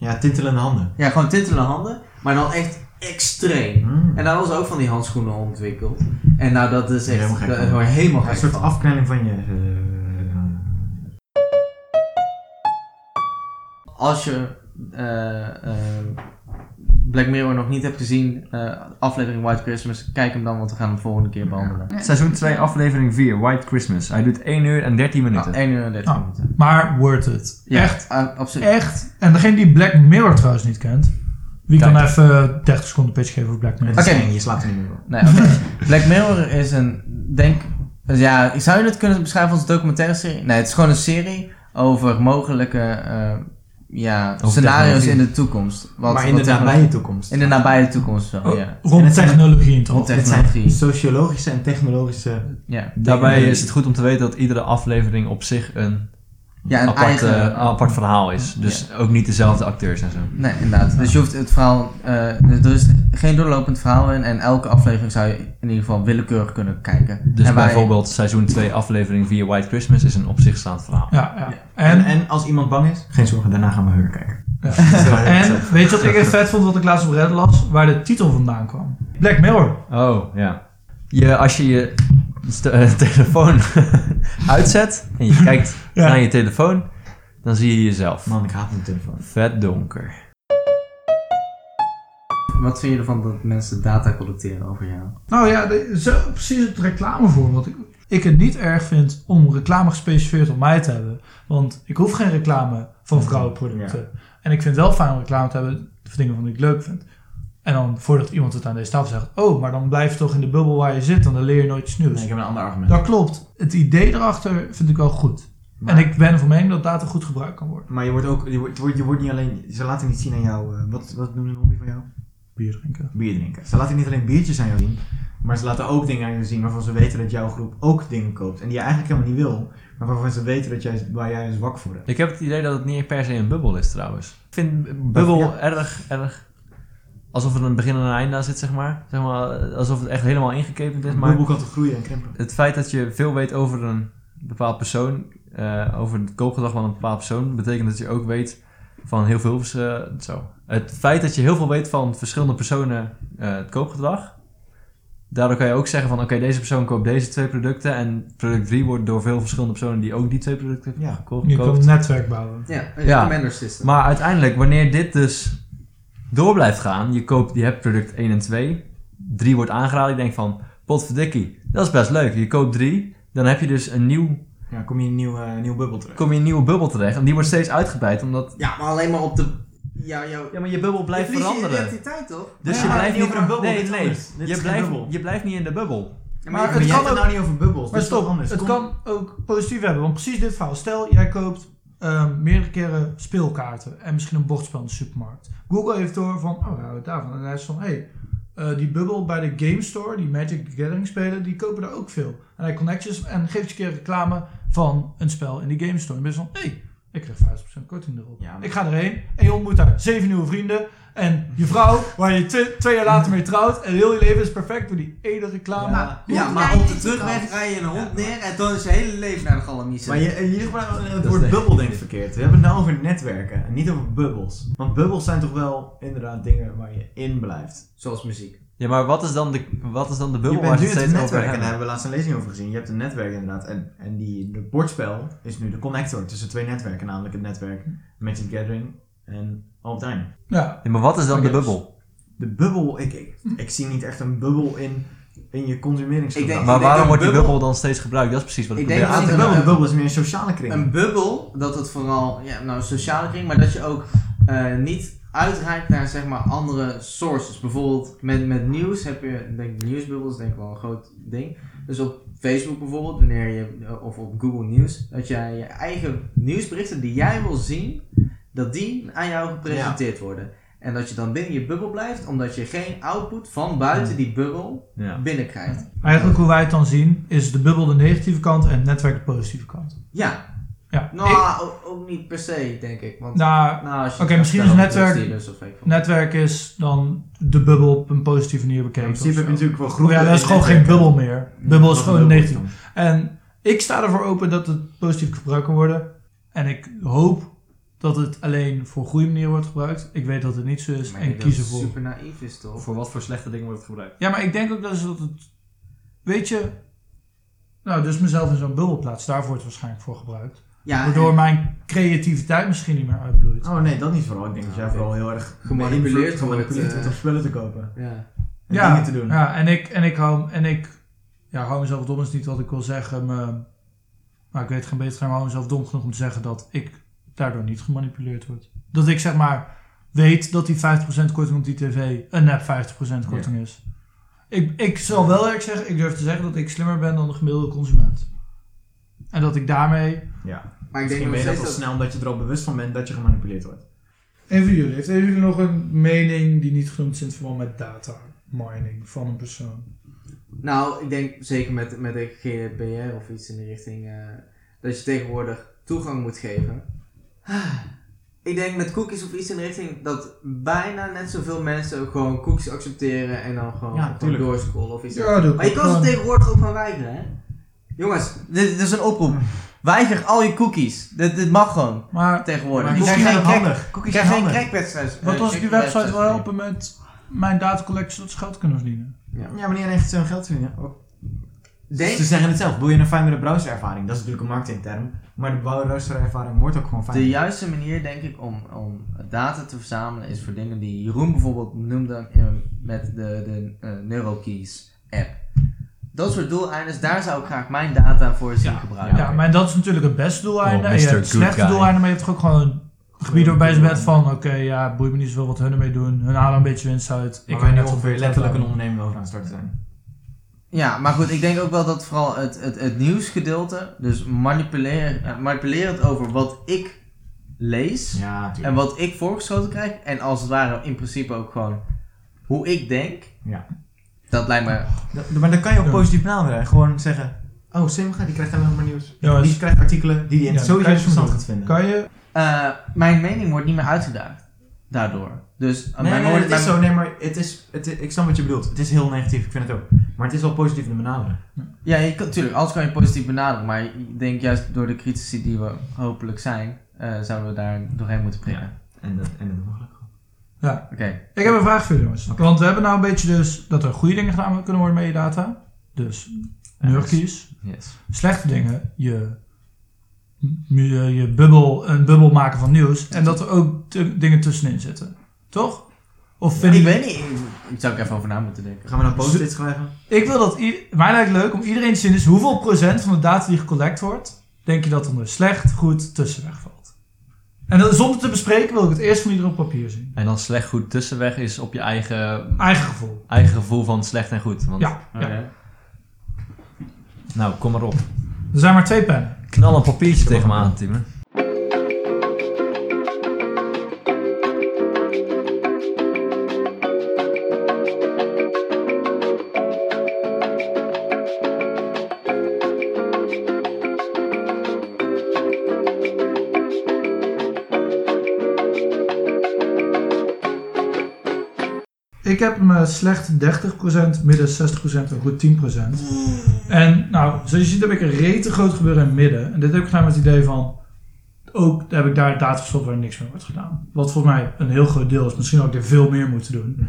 Ja, tintelende handen. Ja, gewoon tintelende handen, maar dan echt extreem. Hmm. En daar was ook van die handschoenen ontwikkeld. En nou, dat is echt Helemaal helemaal gek, gek. hè? helemaal Een gek soort van. afknelling van je... eh, als je eh, eh, Black Mirror nog niet hebt gezien, eh, aflevering White Christmas, kijk hem dan, want we gaan hem volgende keer behandelen. nee. Seizoen 2, aflevering 4, White Christmas. Hij doet 1 uur en 13 minuten. Ah, 1 uur en 30 Ah. minuten. Maar worth it. Echt, Ah, absoluut. echt. En degene die Black Mirror trouwens niet kent, wie Kijk. kan even 30 seconden pitch geven over Black Mirror? Oké. Oké. Je slaapt er niet meer op. Nee, oké. Black Mirror is een, denk, dus ja, ik zou je het kunnen beschrijven als een documentaire serie? Nee, het is gewoon een serie over mogelijke, eh, ja, Over scenario's technologie. in de toekomst. Wat- maar in wat de techno- nabije toekomst. in de nabije toekomst wel, Oh, ja. En Rond het zijn- technologie, Om toch? Het zijn Technologie, sociologische en technologische... ja. Daarbij is het goed om te weten dat iedere aflevering op zich een, Ja, een apart, eigen... eh, apart verhaal is. Dus ook niet dezelfde acteurs en zo. Nee, inderdaad. Dus je hoeft het verhaal. eh, er is geen doorlopend verhaal in. En elke aflevering zou je in ieder geval willekeurig kunnen kijken. Dus en wij- bijvoorbeeld seizoen 2, aflevering 4, White Christmas is een op zich staand verhaal. Ja, ja. En, En, en als iemand bang is, geen zorgen, daarna gaan we Heur kijken. Ja. Zo, zo. en weet je wat ik echt vet vond, wat ik laatst op Reddit las? Waar de titel vandaan kwam. Black Mirror. Oh, ja. Je, als je je st- eh, telefoon uitzet en je kijkt Ja. naar je telefoon, dan zie je jezelf. Man, ik haat mijn telefoon. Vet donker. Wat vind je ervan dat mensen data collecteren over jou? Nou ja, de- zo, precies het reclamevoorbeeld. Ik, ik het niet erg vind om reclame gespecificeerd op mij te hebben. Want ik hoef geen reclame van vrouwenproducten. En ik vind het wel fijn om reclame te hebben voor dingen van die ik leuk vind. En dan voordat iemand het aan deze tafel zegt... Oh, maar dan blijf je toch in de bubbel waar je zit. En dan leer je nooit iets nieuws. Nee, ik heb een ander argument. Dat klopt. Het idee erachter vind ik wel goed. Maar- En ik ben van mening dat data goed gebruikt kan worden. Maar je wordt ook, je wordt, je wordt, je wordt niet alleen, ze laten niet zien aan jou, eh, wat, wat noemen een hobby van jou? Bier drinken. Bier drinken. Ze laten niet alleen biertjes aan jou zien, maar ze laten ook dingen aan je zien waarvan ze weten dat jouw groep ook dingen koopt. En die je eigenlijk helemaal niet wil, maar waarvan ze weten dat jij, waar jij zwak voor hebt. Ik heb het idee dat het niet per se een bubbel is trouwens. Ik vind bubbel Ja. erg, erg... Alsof er een begin en een einde aan zit, zeg maar. zeg maar. Alsof het echt helemaal ingekepend is. Een Maar boel kan te groeien en krimpen. het feit dat je veel weet over een bepaald persoon, eh, over het koopgedrag van een bepaald persoon, betekent dat je ook weet van heel veel vers- eh, zo. Het feit dat je heel veel weet van verschillende personen eh, het koopgedrag, daardoor kan je ook zeggen van oké, deze persoon koopt deze twee producten en product 3 wordt door veel verschillende personen die ook die twee producten Ja, geko- Je kan koopt. een netwerk bouwen. Ja, een Ja. system. Maar uiteindelijk, wanneer dit dus door blijft gaan, je, koopt, je hebt product 1 en 2, 3 wordt aangeraden, ik denk van, potverdikkie, dat is best leuk. Je koopt 3, dan heb je dus een, nieuw, Ja, kom je in een nieuw, eh, nieuw bubbel terug. kom je in een nieuwe bubbel terecht en die wordt steeds uitgebreid, omdat... ja, maar alleen maar op de. Ja, jou, Ja, maar je bubbel blijft je verliest je veranderen. identiteit toch? Dus Ja, je maar blijft niet niet... over een bubbel, dit nee, is nee, anders. Dit is je geen blijft, bubbel. je blijft niet in de bubbel. Ja, maar Maar het jij kan hebt ook- nou niet over bubbels, Maar dus dat is stop, anders. het Kom- kan ook positief hebben. Want precies dit verhaal. Stel, jij koopt ehm, meerdere keren speelkaarten en misschien een bordspel in de supermarkt. Google heeft door van, oh, we houden het daarvan. En hij is van, hé, hey, eh, die bubbel bij de Game Store, die Magic the Gathering spelen, die kopen daar ook veel. En hij connect je en geeft je een keer reclame van een spel in die Game Store. En ben je van, hé, hey, ik krijg 50% korting erop. Ja, maar- Ik ga erheen en je ontmoet daar zeven nieuwe vrienden. En je vrouw, waar je twe- twee jaar later mee trouwt. En heel je leven is perfect door die ene reclame. Ja. Hoe Ja, maar klein op is de het terugweg dan? rij je een hond neer en dan is je hele leven naar de galamiezen. Maar je, in ieder geval, eh, het is woord de- bubbel denk ik verkeerd. We hebben het nou over netwerken en niet over bubbels. Want bubbels zijn toch wel inderdaad dingen waar je in blijft. Zoals muziek. Ja, maar wat is dan de, wat is dan de Je bubbel bent waar nu ze het het steeds over netwerk, en hebben? daar hebben we laatst een lezing over gezien. Je hebt een netwerk inderdaad. En, en die, het bordspel is nu de connector tussen twee netwerken. Namelijk het netwerk Magic Gathering en All Time. Ja, Ja, maar wat is dan de Oké, dus- bubbel? De bubbel, ik, ik, ik zie niet echt een bubbel in, in je consumeringsgedrag. Ik denk- Maar waarom een wordt die bubbel- bubbel dan steeds gebruikt? Dat is precies wat ik Ik probeer denk ja, aan de te dat bubbel, een- de bubbel is meer een sociale kring. Een bubbel, dat het vooral ja, nou, een sociale kring, maar dat je ook eh, niet uitreikt naar zeg maar, andere sources. Bijvoorbeeld met, met nieuws heb je, denk ik, nieuwsbubbels, denk ik wel een groot ding. Dus op Facebook bijvoorbeeld, wanneer je, eh, of op Google News, dat jij je eigen nieuwsberichten die jij wil zien, dat die aan jou gepresenteerd worden. En dat je dan binnen je bubbel blijft, omdat je geen output van buiten die bubbel Ja. binnenkrijgt. eigenlijk hoe wij het dan zien is de bubbel de negatieve kant en het netwerk de positieve kant. Ja, Ja, nou, ik- ook, ook niet per se, denk ik. Want nou, Nou, als je Oké, het misschien gaat is eh, vertellen over netwerk- Steelers of weet ik veel. netwerk is dan de bubbel op een positieve manier in bekeken. principe of heb je zo. natuurlijk wel groepen. ja, dat is en gewoon geen netwerken. bubbel meer. Bubbel is Wat gewoon bubbel is negatief. dan. En ik sta ervoor open dat het positief gebruikt kan worden. En ik hoop dat het alleen voor goede manieren wordt gebruikt. Ik weet dat het niet zo is Maar ik en denk kies dat het ervoor. super naïef is toch? Voor wat voor slechte dingen wordt het gebruikt? Ja, maar ik denk ook dat, is dat het... Weet je... Nou, dus mezelf in zo'n bubbel plaats. Daar wordt het waarschijnlijk voor gebruikt. Ja, Waardoor en mijn creativiteit misschien niet meer uitbloeit. Oh nee, dat niet vooral. Ik denk dat jij Oké. vooral heel erg Gemanipuleerd beïnvloed- wordt, gemanipuleerd eh. wordt om spullen te kopen. Ja. En ja, dingen te doen. Ja, en ik, en ik hou, en ik, ja, hou mezelf dom is niet wat ik wil zeggen. Maar, maar ik weet geen beter, maar hou mezelf dom genoeg om te zeggen dat ik daardoor niet gemanipuleerd word. Dat ik zeg maar weet dat die 50% korting op die tv een nep 50% korting is. Ik, ik zal wel eerlijk zeggen, ik durf te zeggen dat ik slimmer ben dan de gemiddelde consument. En dat ik daarmee... Ja. Maar ik denk Misschien nog ben steeds je dat al dat... snel omdat je er al bewust van bent dat je gemanipuleerd wordt. Een van jullie, heeft een jullie nog een mening die niet genoemd is in het verband met data mining van een persoon? Nou, ik denk zeker met, met de GDPR of iets in die richting... eh, dat je tegenwoordig toegang moet geven. Ik denk met cookies of iets in de richting... dat bijna net zoveel mensen ook gewoon cookies accepteren... en dan gewoon, Ja, gewoon tuurlijk. doorscrollen of iets. Ja, doe ik maar je ook kan ze gewoon. tegenwoordig ook gaan weigeren, hè? Jongens, dit, dit is een oproep. Weiger al je cookies. Dit, dit mag gewoon Maar tegenwoordig. Maar Je cookies krijgt zijn geen crack- handig. Ik Cookies krijg zijn geen eh, handig. crack Wat als die website wil helpen met mijn datacollectie tot ze geld kunnen verdienen? Ja, maar niet alleen echt zo'n geld verdienen. Ook Oh. Denk Dus Ze zeggen het zelf, wil je een fijnere browserervaring? Dat is natuurlijk een marketingterm. Maar de browserervaring wordt ook gewoon fijn. de juiste manier, denk ik, om, om data te verzamelen is voor dingen die Jeroen bijvoorbeeld noemde eh, met de, de eh, NeuroKeys app. Dat soort doeleinden, daar zou ik graag mijn data voor zien Ja, gebruiken. oké. maar dat is natuurlijk het beste doeleinde. Oh, en je Mr. hebt Good slechte Guy. doeleinden, maar je hebt ook gewoon gebieden waarbij ze bent van... Oké, ja, boeit me niet zoveel wat hun ermee doen. Hun halen een beetje winst uit. ik weet weet niet nu of ongeveer het letterlijk een gaat onderneming over aan het starten zijn. Ja, maar goed, ik denk ook wel dat vooral het, het, het nieuwsgedeelte, dus manipuleren, eh, manipulerend over wat ik lees Ja, natuurlijk. en wat ik voorgeschoten krijg, en als het ware in principe ook gewoon hoe ik denk, Ja. dat lijkt me maar dan kan je ook Ja. positief benaderen. Gewoon zeggen, oh Simga, die krijgt helemaal maar nieuws. Jongens. Die krijgt artikelen die hij Ja, sowieso krijg je interessant zo. gaat vinden. Kan je? Eh, mijn mening wordt niet meer uitgedaagd daardoor. Dus eh, Nee, mijn nee, woorden- het is mijn- zo. Nee, maar het is, het is- ik snap wat je bedoelt. Het is heel negatief, ik vind het ook. Maar het is wel positief te benaderen. Ja, je kan, tuurlijk, alles kan je positief benaderen. Maar ik denk juist door de critici die we hopelijk zijn, eh, zouden we daar doorheen moeten prikken. En dat, en dat doen we gelukkig. Oké. Ik heb een vraag voor jullie, jongens. Want we hebben nou een beetje dus dat er goede dingen gedaan kunnen worden met je data. Dus nurkies. Yes. Slechte dingen, je, je, je bubbel, een bubbel maken van nieuws. En dat er ook te- dingen tussenin zitten. Toch? Of vind Ik ik weet niet, ik, ik zou ik even over na moeten denken. Gaan we dan post-its schrijven? Ik wil dat ieder, mij lijkt het leuk om iedereen te zien is hoeveel procent van de data die gecollect wordt, denk je dat er een slecht, goed tussenweg valt. En dan, zonder te bespreken wil ik het eerst van iedereen op papier zien. En dan slecht goed tussenweg is op je eigen, Eigen gevoel. eigen gevoel van slecht en goed. Want, Ja, ja. Oké. Nou, kom maar op. Er zijn maar twee pennen. Knal een papiertje tegen me aan, Tim. Ik heb me slecht 30%, midden 60% en goed 10%. En nou, zoals je ziet heb ik een rete groot gebeuren in het midden. En dit heb ik gedaan met het idee van, ook heb ik daar data gestopt waar niks meer wordt gedaan. Wat volgens mij een heel groot deel is. Misschien had ik er veel meer moeten doen.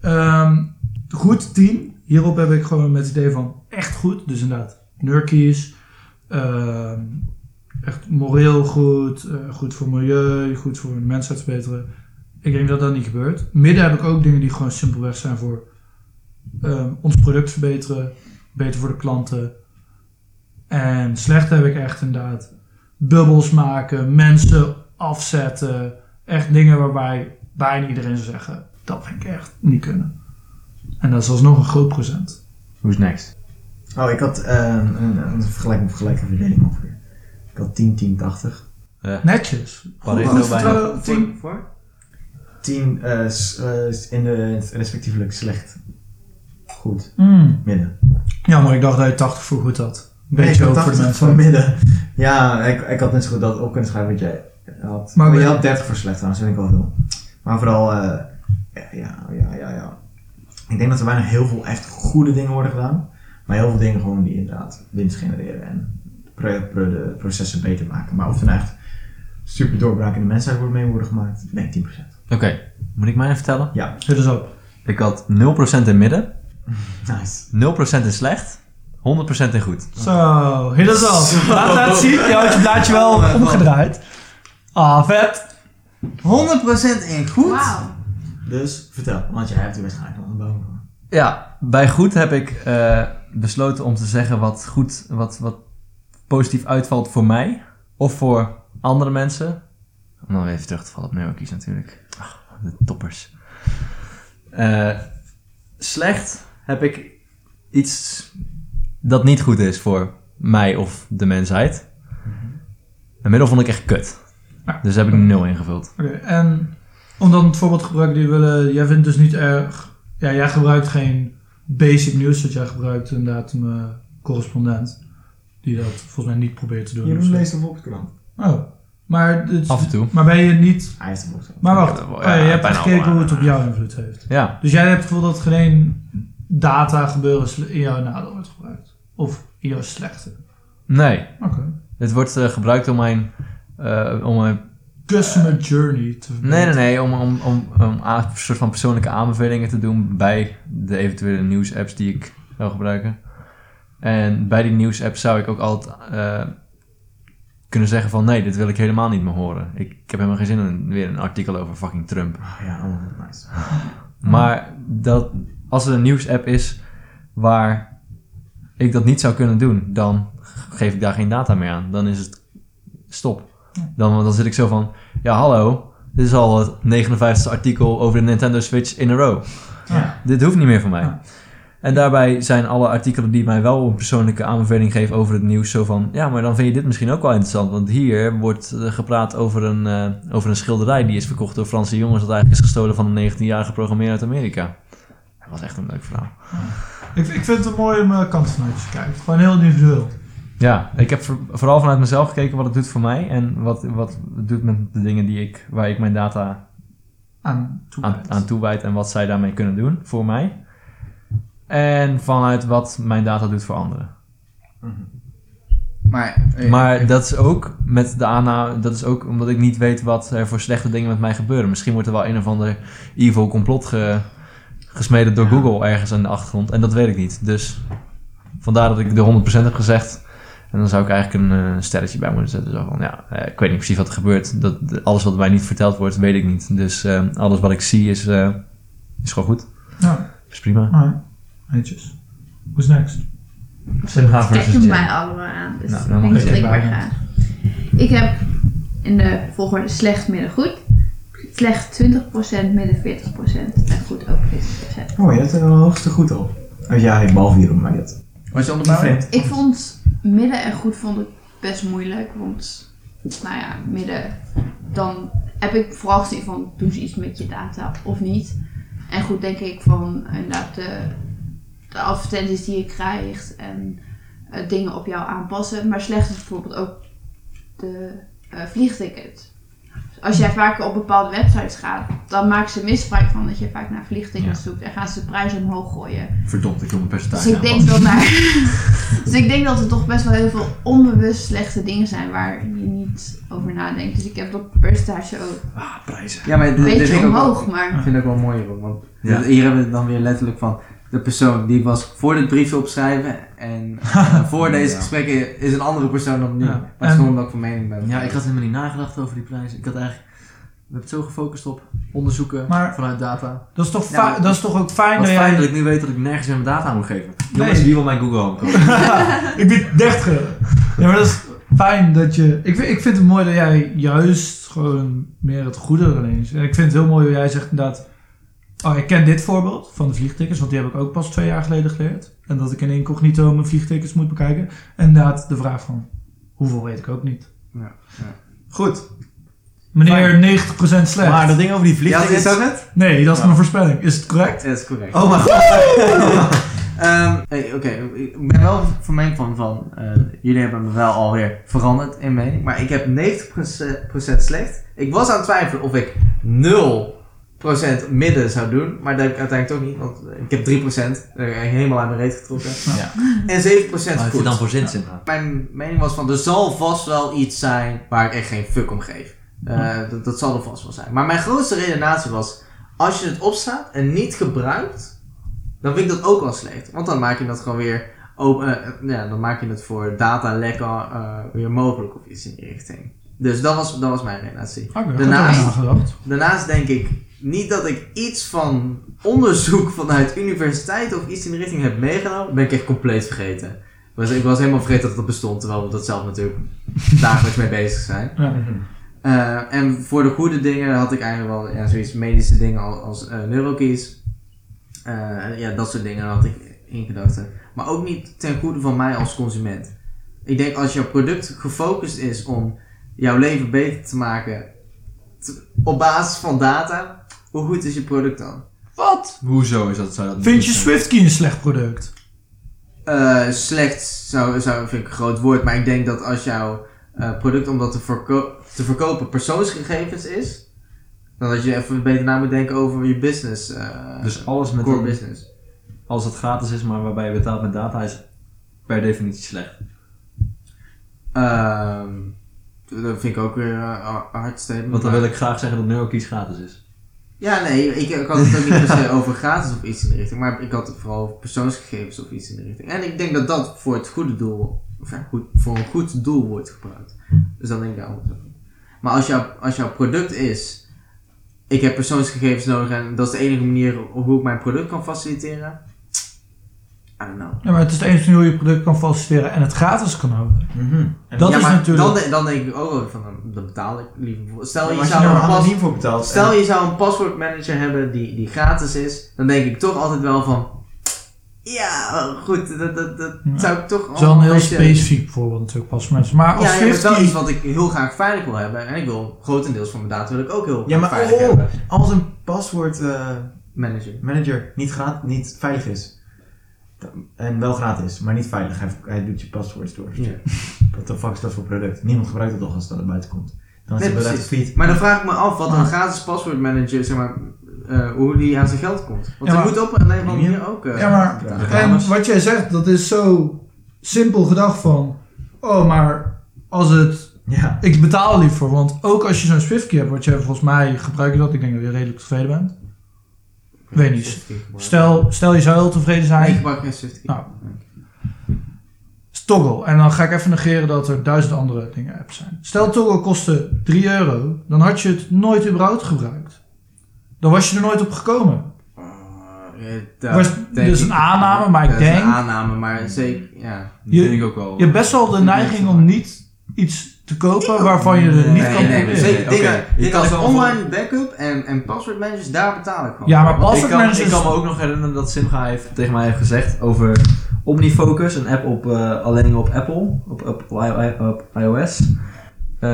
Ehm, goed 10. Hierop heb ik gewoon met het idee van echt goed. Dus inderdaad, nurkies. ehm, echt moreel goed. eh, goed voor milieu. Goed voor de mensheid verbeteren. Ik denk dat dat niet gebeurt. Midden heb ik ook dingen die gewoon simpelweg zijn voor ehm, ons product verbeteren. Beter voor de klanten. En slecht heb ik echt inderdaad bubbels maken, mensen afzetten. Echt dingen waarbij bijna iedereen zou zeggen: dat vind ik echt niet kunnen. En dat is alsnog een groot procent. Who's next? Oh, ik had eh, een, een, een vergelijking vergelijking verdeling ongeveer. Ik had 10, 10, 80. Netjes. Pareto Goed bijna. vertrouwen, Voor? tien. voor? 10 eh, s- eh, in de respectievelijk slecht. Goed. Mm. Midden. Ja, maar ik dacht dat je 80 voor goed had. Nee, ik Beetje had ook voor de 80 mensen. voor midden. Ja, ik, ik had net zo goed dat op kunnen schrijven wat jij had. Maar Maar, we- je had 30 voor slecht trouwens, vind ik wel veel. Maar vooral, eh, ja, ja, ja, ja, ja. Ik denk dat er bijna heel veel echt goede dingen worden gedaan. Maar heel veel dingen gewoon die inderdaad winst genereren en pro- pro- de processen beter maken. Maar of er nou echt super doorbraak in de mensheid wordt mee worden gemaakt, ik denk 10%. Oké, moet ik mij even vertellen? Zit dus op. Ik had 0% in midden, Nice. 0% in slecht, 100% in goed. Zo, hit us off. Laat laat zien. Je houdt je blaadje wel omgedraaid. Ah, vet. 100% in goed. Wauw. Dus vertel, want jij hebt er waarschijnlijk nog een boom voor. Ja, bij goed heb ik eh, besloten om te zeggen wat goed, wat, wat positief uitvalt voor mij of voor andere mensen. Om dan weer even terug te vallen op Neurokies natuurlijk. Ach, de toppers. Eh, slecht heb ik iets dat niet goed is voor mij of de mensheid. En middel vond ik echt kut. Ja. Dus daar heb ik nul ingevuld. Oké, en om dan het voorbeeld te gebruiken die we willen... Jij vindt dus niet erg... Ja, jij gebruikt geen basic news. Dat jij gebruikt inderdaad een eh, correspondent. Die dat volgens mij niet probeert te doen. of zo. de Volkskrant. Oh, maar... dit- Af en toe. Maar ben je niet... Hij heeft de Volkskrant. Maar wacht, Ja, oh, wel, eh, ja, ja, je hebt bijna gekeken hoe allemaal, het op ja. jou invloed heeft. Ja. Dus jij hebt het gevoel dat geen data gebeuren sle- in jouw nadeel wordt gebruikt. Of in jouw slechte. Nee. Oké. Dit wordt eh, gebruikt om mijn, eh, om mijn Customer journey te Nee, nee, verbeteren. nee. Om, om, om, om a- een soort van persoonlijke aanbevelingen te doen bij de eventuele nieuwsapps die ik zou gebruiken. En bij die nieuwsapps zou ik ook altijd eh, kunnen zeggen van... Nee, dit wil ik helemaal niet meer horen. Ik, ik heb helemaal geen zin in weer een artikel over fucking Trump. Oh ja, allemaal nice. Maar dat, als er een nieuwsapp is waar ik dat niet zou kunnen doen, dan geef ik daar geen data meer aan. Dan is het stop. Dan, dan zit ik zo van, ja hallo, dit is al het 59e artikel over de Nintendo Switch in a row. Ja. Dit hoeft niet meer van mij. Ja. En daarbij zijn alle artikelen die mij wel een persoonlijke aanbeveling geven over het nieuws zo van... Ja, maar dan vind je dit misschien ook wel interessant. Want hier wordt eh, gepraat over een, eh, over een schilderij die is verkocht door Franse jongens... dat eigenlijk is gestolen van een 19-jarige programmeer uit Amerika. Dat was echt een leuk verhaal. Ik, ik vind het mooi om eh kant vanuit te kijken. Gewoon heel individueel. Ja, ik heb voor- vooral vanuit mezelf gekeken wat het doet voor mij... en wat, wat het doet met de dingen die ik, waar ik mijn data Aan toe. aan, aan toewijd en wat zij daarmee kunnen doen voor mij. En vanuit wat mijn data doet voor anderen. Maar, eh, Maar dat is ook met de aanname, dat is ook omdat ik niet weet wat er voor slechte dingen met mij gebeuren. Misschien wordt er wel een of ander evil complot ge- gesmeden door Google ergens aan de achtergrond. En dat weet ik niet. Dus vandaar dat ik de 100% heb gezegd. En dan zou ik eigenlijk een eh, sterretje bij moeten zetten. Zo van, ja, eh, ik weet niet precies wat er gebeurt. Dat, alles wat mij niet verteld wordt, weet ik niet. Dus eh, alles wat ik zie is, eh, is gewoon goed. Ja, Is prima. maar. Netjes. Who's next? Simga Kijk versus hem Jim. mij allemaal aan. Dus Nou, ik dan denk mag dat jij ik maar bijna. ga. Ik heb in de volgorde slecht, midden, goed. Slecht 20%, midden 40% en goed ook 40%. Oh, je hebt er een hoogste goed op. Oh, ja, ik behalve hierom, maar dat. was je Die onderbouwing? vent. Ik vond midden en goed vond ik best moeilijk. Want, nou ja, midden. Dan heb ik vooral gezien van doen ze iets met je data of niet. En goed denk ik van inderdaad de, de advertenties die je krijgt en eh, dingen op jou aanpassen. Maar slecht is bijvoorbeeld ook de eh, vliegticket. Dus Als jij vaker op bepaalde websites gaat, dan maken ze misbruik van dat je vaak naar vliegtickets zoekt en gaan ze de prijs omhoog gooien. Verdomd, ik wil mijn Dus percentage ik denk dat daar. dus ik denk dat er toch best wel heel veel onbewust slechte dingen zijn waar je niet over nadenkt. Dus ik heb dat percentage ook Ah, prijzen. Ja, maar dit, een dit beetje vind ik ook wel- omhoog, maar. Ik vind het ook wel mooi, hoor, want dus Ja. dit- hier hebben we het dan weer letterlijk van... de persoon die ik was voor dit briefje opschrijven. En eh, voor deze Ja. gesprekken is een andere persoon dan nu. Ja. Maar het is En- gewoon omdat ik van mening ben. Ja, ik had helemaal niet nagedacht over die prijzen. Ik had eigenlijk... We hebben het zo gefocust op onderzoeken Maar- vanuit data. Dat is toch, Ja, fa- maar- dat is toch ook fijn Wat dat fijn dat jij... ik nu weet dat ik nergens meer mijn data aan moet geven. Nee. Jongens, wie wil mijn Google Home kopen? Ik bied 30 euro. Ja, maar dat is fijn dat je... Ik, vind- ik vind het mooi dat jij juist gewoon meer het goede erin is. En ik vind het heel mooi dat jij zegt inderdaad... Oh, ik ken dit voorbeeld van de vliegtickets, want die heb ik ook pas twee jaar geleden geleerd. En dat ik in incognito mijn vliegtickets moet bekijken. En inderdaad de vraag van, hoeveel weet ik ook niet. Goed. Meneer, 90% slecht. Maar dat ding over die Ja, vliegtuig is dat het? Nee, dat is Ja. mijn voorspelling. Is het correct? Dat is correct. Oh mijn god. Ehm, hey, Oké, ik ben wel van mening van, van eh, jullie hebben me wel alweer veranderd in mening, maar ik heb 90% slecht. Ik was aan het twijfelen of ik 0% midden zou doen, maar dat heb ik uiteindelijk toch niet, want ik heb 3% eh, helemaal aan mijn reet getrokken. Ja. En 7% Waar heeft hij goed. dan voor zin in? nou? Mijn mening was van, er zal vast wel iets zijn waar ik echt geen fuck om geef. Eh, dat, dat zal er vast wel zijn. Maar mijn grootste redenatie was, als je het opstaat en niet gebruikt, dan vind ik dat ook al slecht. Want dan maak je dat gewoon weer, open, eh, eh, ja, dan maak je het voor datalek eh weer mogelijk of iets in die richting. Dus dat was, dat was mijn redenatie. Oké, goed Daarnaast- nagedacht. Daarnaast denk ik niet dat ik iets van onderzoek vanuit universiteit of iets in de richting heb meegenomen. Dat ben ik echt compleet vergeten. Was- Ik was helemaal vergeten dat dat bestond, terwijl we dat zelf natuurlijk dagelijks mee bezig zijn. Ja. Mhm. Eh, en voor de goede dingen had ik eigenlijk wel ja, zoiets medische dingen als, als eh, neurokies. Eh, ja, dat soort dingen had ik in gedachten. Maar ook niet ten goede van mij als consument. Ik denk als jouw product gefocust is om jouw leven beter te maken t- op basis van data, hoe goed is je product dan? Wat? Hoezo is dat zo? Dat Vind je Swift? SwiftKey een slecht product? Eh, slecht zou, zou, vind ik een groot woord, maar ik denk dat als jouw eh, product om dat te, verko- te verkopen persoonsgegevens is, dan dat je even beter na moet denken over je business, eh, Dus alles met core business. als het gratis is, maar waarbij je betaalt met data, is per definitie slecht. Ehm, dat vind ik ook weer eh, een hard statement. Want dan maar- wil ik graag zeggen dat NeuroKeys gratis is. Ja, nee, ik, ik had het ook niet per se over gratis of iets in de richting, maar ik had het vooral over persoonsgegevens of iets in de richting. En ik denk dat dat voor het goede doel, of ja, goed, voor een goed doel wordt gebruikt. Dus dan denk ik daar anders over. Maar als, jouw als jouw product is, ik heb persoonsgegevens nodig en dat is de enige manier hoe ik mijn product kan faciliteren, I don't know. Ja, maar het is de enige manier hoe je product kan faciliteren en het gratis kan houden. Dat ja, is maar natuurlijk- dan, de- dan denk ik ook wel van, dan betaal ik liever voor. Stel, je als je zou nou een pas- anoniem voor betaalt. Stel je zou een paswoordmanager hebben die, die gratis is, dan denk ik toch altijd wel van. Ja, goed, dat, dat, dat Ja. zou ik toch Het is wel een heel beetje- specifiek voorbeeld natuurlijk pas mensen. Maar als Oh, Ja, ja, maar het is wel SwiftKey... iets wat ik heel graag veilig wil hebben. En ik wil grotendeels van mijn data wil ik ook heel Ja, maar veilig oh, hebben. als een paswoord eh, Manager. manager niet, graat, niet veilig is. dan- En wel gratis, maar niet veilig. Hij, hij doet je paswoord door. Ja. What the fuck is dat voor product? Niemand gebruikt het toch als dat er buiten komt. Dan is Nee, het bedrijf precies. failliet. Maar dan vraag ik me af wat een gratis paswoordmanager, zeg maar, eh, hoe die aan zijn geld komt. Want Ja, die maar- moet op een andere manier ook. eh, Ja, maar- betalen. En wat jij zegt, dat is zo simpel gedacht van... Oh, maar als het... Ja. Ik betaal liever, want ook als je zo'n SwiftKey hebt, wat jij volgens mij gebruikt dat, ik denk dat je redelijk tevreden bent. Weet niet. Stel, stel je zou heel tevreden Nee, ik zijn, gebruik geen safety. Nou. is Toggle. En dan ga ik even negeren dat er duizend andere dingen apps zijn. Stel Toggle kostte 3 euro, dan had je het nooit überhaupt gebruikt. Dan was je er nooit op gekomen. Oh, dat Was- denk dus ik- een aanname, maar ik Dat is denk- een aanname, maar zeker, ja. Die Je- denk ik ook wel. Je hebt best wel de neiging om niet iets te kopen waarvan je er niet nee, kan nee, proberen. nee, zeker. Oké, Dingen- je dingen kan als zo online backup en, en password managers, daar betaal ik gewoon. Ja, maar voor. pas- ik, kan, Paswoordmanager ik is- kan me ook nog herinneren dat Simga heeft, tegen mij heeft gezegd over OmniFocus, een app op, eh, alleen op Apple, op, op, i- i- op iOS. Eh,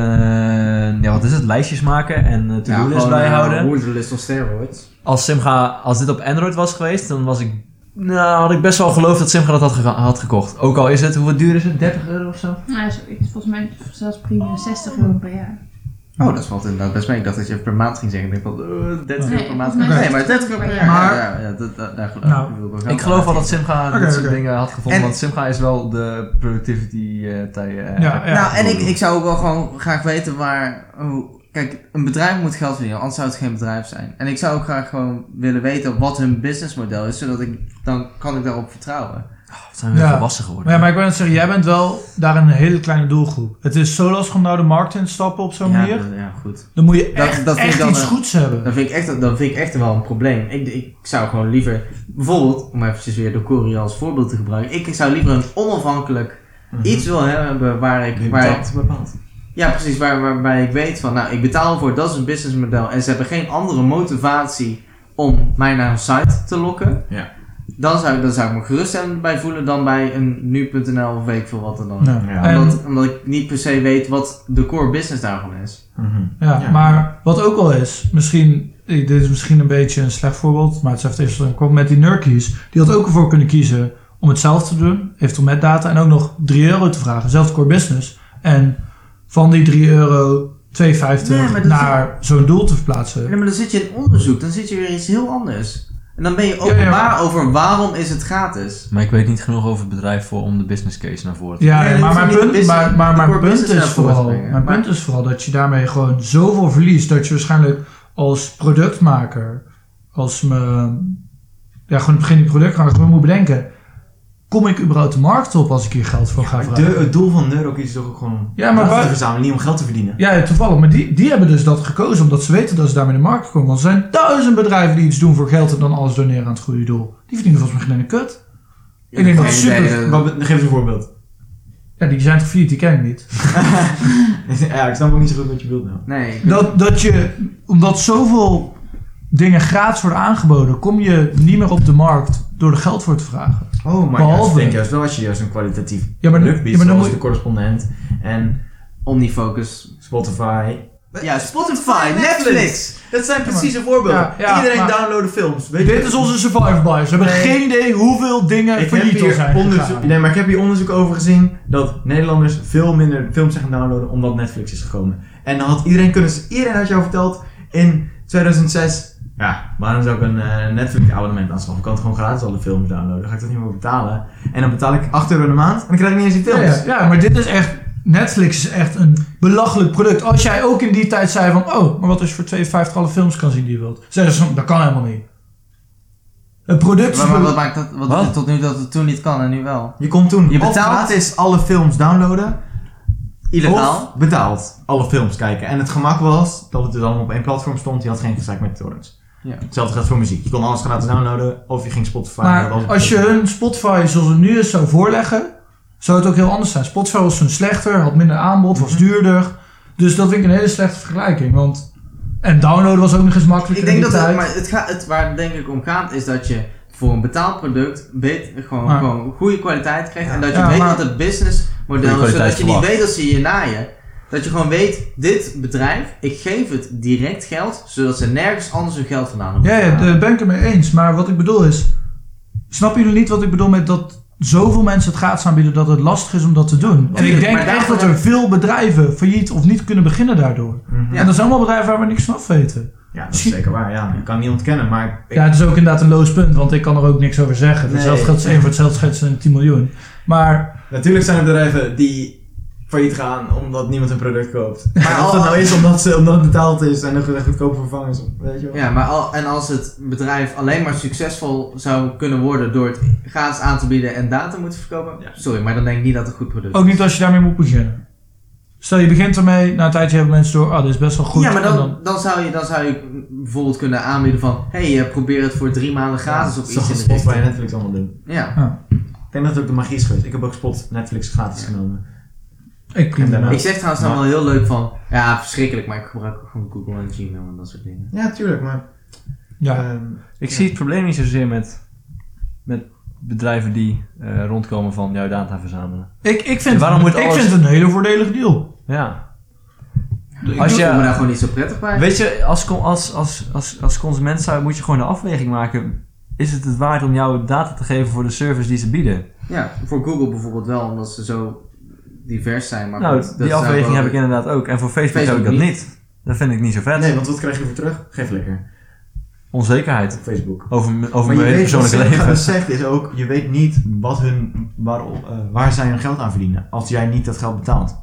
ja, wat is het? Lijstjes maken en eh, Ja, gewoon, to-do-list eh, bijhouden. Woordenlist of steroids. als Simga, als dit op Android was geweest, dan was ik, nou, had ik best wel geloofd dat Simga dat had, gega- had gekocht. Ook al is het, hoe duur is het? 30 euro of zo? Nou, zoiets. Volgens mij zelfs premium 60 euro per jaar. Oh, dat valt inderdaad best mee. Ik dacht dat je per maand ging zeggen. Ik dacht van, eh, 30 euro Nee, per maand. volgens mij Nee, is maar het 30 euro per jaar. Maar- ja, ja, dat, dat, daar geloof Nou, wil wel ik geld geloof aan wel dat Simga Oké, dit soort oké. dingen had gevonden, En- want Simga is wel de productivity eh tij- eh, Ja, ja. Nou, en ik, ik zou ook wel gewoon graag weten waar, hoe- Kijk, een bedrijf moet geld verdienen, anders zou het geen bedrijf zijn. En ik zou ook graag gewoon willen weten wat hun businessmodel is, zodat ik dan kan ik daarop vertrouwen. Wat zijn Oh, we weer Ja. volwassen Maar, geworden. ja, maar ik wil net zeggen, jij bent wel daar een hele kleine doelgroep. Het is zo lastig om nou de markt in te stappen op zo'n ja, manier. dat- ja, goed. Dan moet je Dat- echt, dat vind echt ik dan iets een- goeds hebben. Dan vind ik echt, dan vind ik echt wel een probleem. Ik, ik zou gewoon liever, bijvoorbeeld, om eventjes weer de Korea als voorbeeld te gebruiken. Ik zou liever een onafhankelijk Mhm. iets wil hebben waar ik, waar ik bepaald, bepaald. Ja, precies. Waar, waarbij ik weet van, nou, ik betaal voor, dat is een businessmodel. En ze hebben geen andere motivatie om mij naar een site te lokken. Ja. Dan zou, dan zou ik me geruststellend bij voelen dan bij een nu.nl of weet ik veel wat er dan. Ja. Ja. Nou, En- Omdat, omdat ik niet per se weet wat de core business daarvan is. Mhm. Ja, Ja. maar wat ook wel is, misschien, eh, dit is misschien een beetje een slecht voorbeeld, maar het is even eerst kwam met die Nurkies. Die had ook ervoor kunnen kiezen om hetzelfde te doen, eventueel met data, en ook nog 3 euro te vragen, zelfde core business. En van die 3 euro 2,50 Nee, maar dat is- naar zo'n doel te verplaatsen. Ja, maar dan zit je in onderzoek, dan zit je weer iets heel anders. En dan ben je ja, openbaar maar- over waarom is het gratis. Maar ik weet niet genoeg over het bedrijf voor om de business case naar voren te Ja, Nee, dat maar is mijn niet de punt, business- maar, maar de mijn core punt business is naar voren vooral, brengen. mijn Maar- punt is vooral dat je daarmee gewoon zoveel verliest dat je waarschijnlijk als productmaker, als me, ja, gewoon begin die productmaker gewoon moet bedenken, kom ik überhaupt de markt op als ik hier geld voor ga Maar vragen? de, het doel van Neurokies is toch ook gewoon Ja, maar data te waar- verzamelen, niet om geld te verdienen. Ja, ja, toevallig. Maar die, die hebben dus dat gekozen omdat ze weten dat ze daarmee in de markt komen. Want er zijn duizend bedrijven die iets doen voor geld en dan alles doneren aan het goede doel. Die verdienen volgens mij geen ene kut. ik denk dat geen is super. idee, eh, Wat be- geef eens een voorbeeld. Ja, die zijn toch failliet, die ken ik niet. ja, ik snap ook niet zo goed wat je bedoelt nou. nee. ik- Dat, dat je, omdat zoveel dingen gratis worden aangeboden, kom je niet meer op de markt door er geld voor te vragen. Oh, maar Behalve- juist, ik denk juist wel als je juist een kwalitatief Ja, maar, product biedt, ja, maar dan zoals moet de correspondent en Omnifocus. Spotify. Ja, Spotify, Netflix. Dat zijn precieze voorbeelden. Ja, ja, Iedereen maar- downloaden films. Weet Dit is onze survivor bias. We hebben Nee. geen idee hoeveel dingen ik heb failliet al hier zijn onderzoek, gegaan. nee, maar ik heb hier onderzoek over gezien dat Nederlanders veel minder films zijn gaan downloaden omdat Netflix is gekomen. En dan had iedereen kunnen, iedereen had jou verteld in 2006, ja, waarom zou ik een eh, Netflix abonnement aanschaffen? Ik kan het gewoon gratis alle films downloaden, dan ga ik dat niet meer betalen. En dan betaal ik 8 euro in de maand en dan krijg ik niet eens die Ja, films. ja, ja, maar dit is echt... Netflix is echt een belachelijk product. Als jij ook in die tijd zei van... Oh, maar wat als je voor 2,50 alle films kan zien die je wilt? Zeggen ze, dat kan helemaal niet. Het product... Maar, maar wat maakt dat, wat, Wat? tot nu dat het toen niet kan en nu wel? Je kon toen Je of betaalt- gratis alle films downloaden Illegaal? of betaald alle films kijken. En het gemak was dat het dus allemaal op één platform stond, je had geen gezeik met torrents. Ja. Hetzelfde geldt voor muziek. Je kon alles gratis downloaden of je ging Spotify. en Maar dat was het. als je hun Spotify zoals het nu is zou voorleggen, zou het ook heel anders zijn. Spotify was toen slechter, had minder aanbod, was Mhm. duurder. Dus dat vind ik een hele slechte vergelijking. Want, en downloaden was ook nog eens makkelijker Ik denk in dat die tijd. het, maar het gaat, het, waar het denk ik om gaat is dat je voor een betaald product beter, gewoon, Maar- gewoon goede kwaliteit krijgt. en dat je Ja, weet maar- wat het businessmodel Goede is, zodat je niet kwaliteitsverlag. weet dat ze je naaien. Dat je gewoon weet, dit bedrijf, ik geef het direct geld, zodat ze nergens anders hun geld vandaan hoeven. Ja, ja, te halen. daar ben ik het mee eens. Maar wat ik bedoel is, snappen jullie niet wat ik bedoel met dat zoveel mensen het gratis aanbieden dat het lastig is om dat te doen? En ik Tuurlijk, denk maar echt daarvoor dat er heb- veel bedrijven failliet of niet kunnen beginnen daardoor. Mhm. Ja. En dat zijn allemaal bedrijven waar we niks van af weten. Ja, dat is zeker waar. Ja, ik kan het niet ontkennen, maar ik, Ja, het is ook inderdaad een loos punt, want ik kan er ook niks over zeggen. Nee. Hetzelfde geldt als één voor hetzelfde geldt als een 10 miljoen. Maar natuurlijk zijn er bedrijven die failliet gaan omdat niemand hun product koopt. Maar al- als dat nou is omdat, ze, omdat het betaald is en er een goedkoop vervang is, weet je wel. Ja, maar al, en als het bedrijf alleen maar succesvol zou kunnen worden door het gratis aan te bieden en data moeten verkopen, Ja. sorry, maar dan denk ik niet dat het een goed product Ook niet als je daarmee moet beginnen. Stel je begint ermee, na een tijdje hebben mensen door, ah, dit is best wel goed. ja, maar en dan, dan, zou je, dan zou je bijvoorbeeld kunnen aanbieden van... Hé, hey, eh, probeer het voor drie maanden gratis op iets Zoals in de Spotify en richting. Netflix allemaal doen. Ja. Ik denk dat het ook de magie is geweest. Ik heb ook Spot Netflix gratis genomen. ik prima. En daarna- Ik zeg trouwens dan Maar- wel heel leuk van... Ja, verschrikkelijk, maar ik gebruik ook gewoon Google en Gmail en dat soort dingen. Ja, tuurlijk, maar... Ja. ehm, Ik zie het probleem niet zozeer met, met bedrijven die eh, rondkomen van jouw data verzamelen. Ik, ik vind, En waarom moet ik alles- vind het een hele voordelig deal. Ja. Ik Als Ik voel me daar je, gewoon niet zo prettig bij. weet je, als, con- als, als, als, als consument zou, moet je gewoon de afweging maken. Is het het waard om jouw data te geven voor de service die ze bieden? Ja, voor Google bijvoorbeeld wel, omdat ze zo divers zijn. Maar goed, nou, dat die zou afweging wel- heb ik inderdaad ook. En voor Facebook, Facebook heb ik dat niet. niet. Dat vind ik niet zo vet. nee, want wat krijg je voor terug? Geef lekker. Onzekerheid Op Facebook. over, m- over je mijn hele weet, wat persoonlijke Seneca leven. dus zegt is ook, je weet niet wat hun, waar, eh, waar zij hun geld aan verdienen als jij niet dat geld betaalt.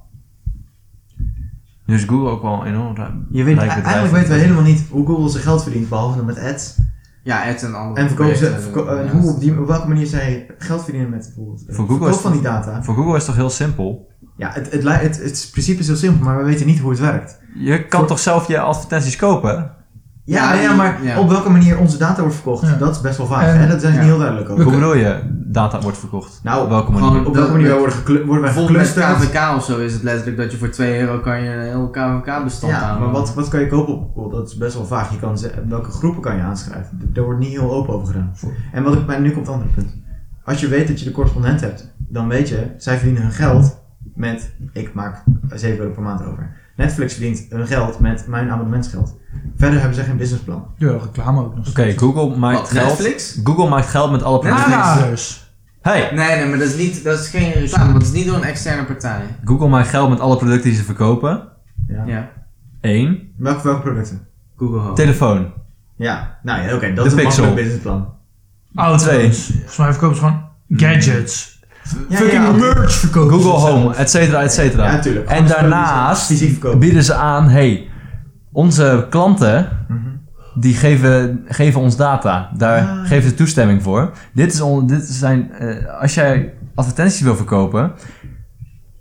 Nu is Dus Google ook wel enorm ruim. Je weet, Lijkt het eigenlijk lijkt weten we helemaal niet hoe Google zijn geld verdient, behalve dan met ads. Ja, ads en andere En, verkopen ze, projecten eh, verko- en daarnaast. hoe op, die, op welke manier zij geld verdienen met bijvoorbeeld het Voor Google verkoop is van die het- data. Voor Google is het toch heel simpel. Ja, het, het, li- het, het principe is heel simpel, maar we weten niet hoe het werkt. Je kan Voor- toch zelf je advertenties kopen? Ja, Ja, nee, ja, maar ja. op welke manier onze data wordt verkocht, Ja. dat is best wel vaag. En- hè? Dat zijn ze ja. niet heel duidelijk over. We Hoe kun- bedoel je, data wordt verkocht? Nou, op welke manier? gewoon- Op welke manier wij worden, geklu- worden wij Bijvoorbeeld geclusterd? met KVK of zo is het letterlijk dat je voor 2 euro kan je een heel KVK-bestand Ja, aan. maar wat, wat kan je kopen op Google? Dat is best wel vaag. Je kan ze- welke groepen kan je aanschrijven? D- Daar wordt niet heel open over gedaan. En wat ik, maar nu komt het andere punt. Als je weet dat je de correspondent hebt, dan weet je, zij verdienen hun geld met, ik maak 7 euro per maand over. Netflix verdient hun geld met mijn abonnementsgeld. Verder hebben ze geen businessplan. Ja, reclame ook nog. Oké, Google maakt Wat, geld. Netflix? Google maakt geld met alle producten. Aanraders. Hey, Nee, nee, maar dat is, niet, dat is geen Nou, reclame, want het is niet door een externe partij. Google maakt geld met alle producten die ze verkopen. Ja. Ja, Eén. Welke, welke producten? Google Home. Telefoon. Ja, nou ja, oké, dat De is een Pixel. makkelijk businessplan. Auto's. Volgens mij verkopen ze gewoon gadgets. Ja, Fucking ja, merch verkopen Google ze zelf. Home, et cetera, et cetera. Ja, tuurlijk. En Anders daarnaast kunnen ze fysiek verkopen. bieden ze aan, hey, onze klanten Mhm. die geven, geven ons data. Daar Ah. geven ze toestemming voor. Dit is on, dit zijn, eh, als jij advertenties wil verkopen,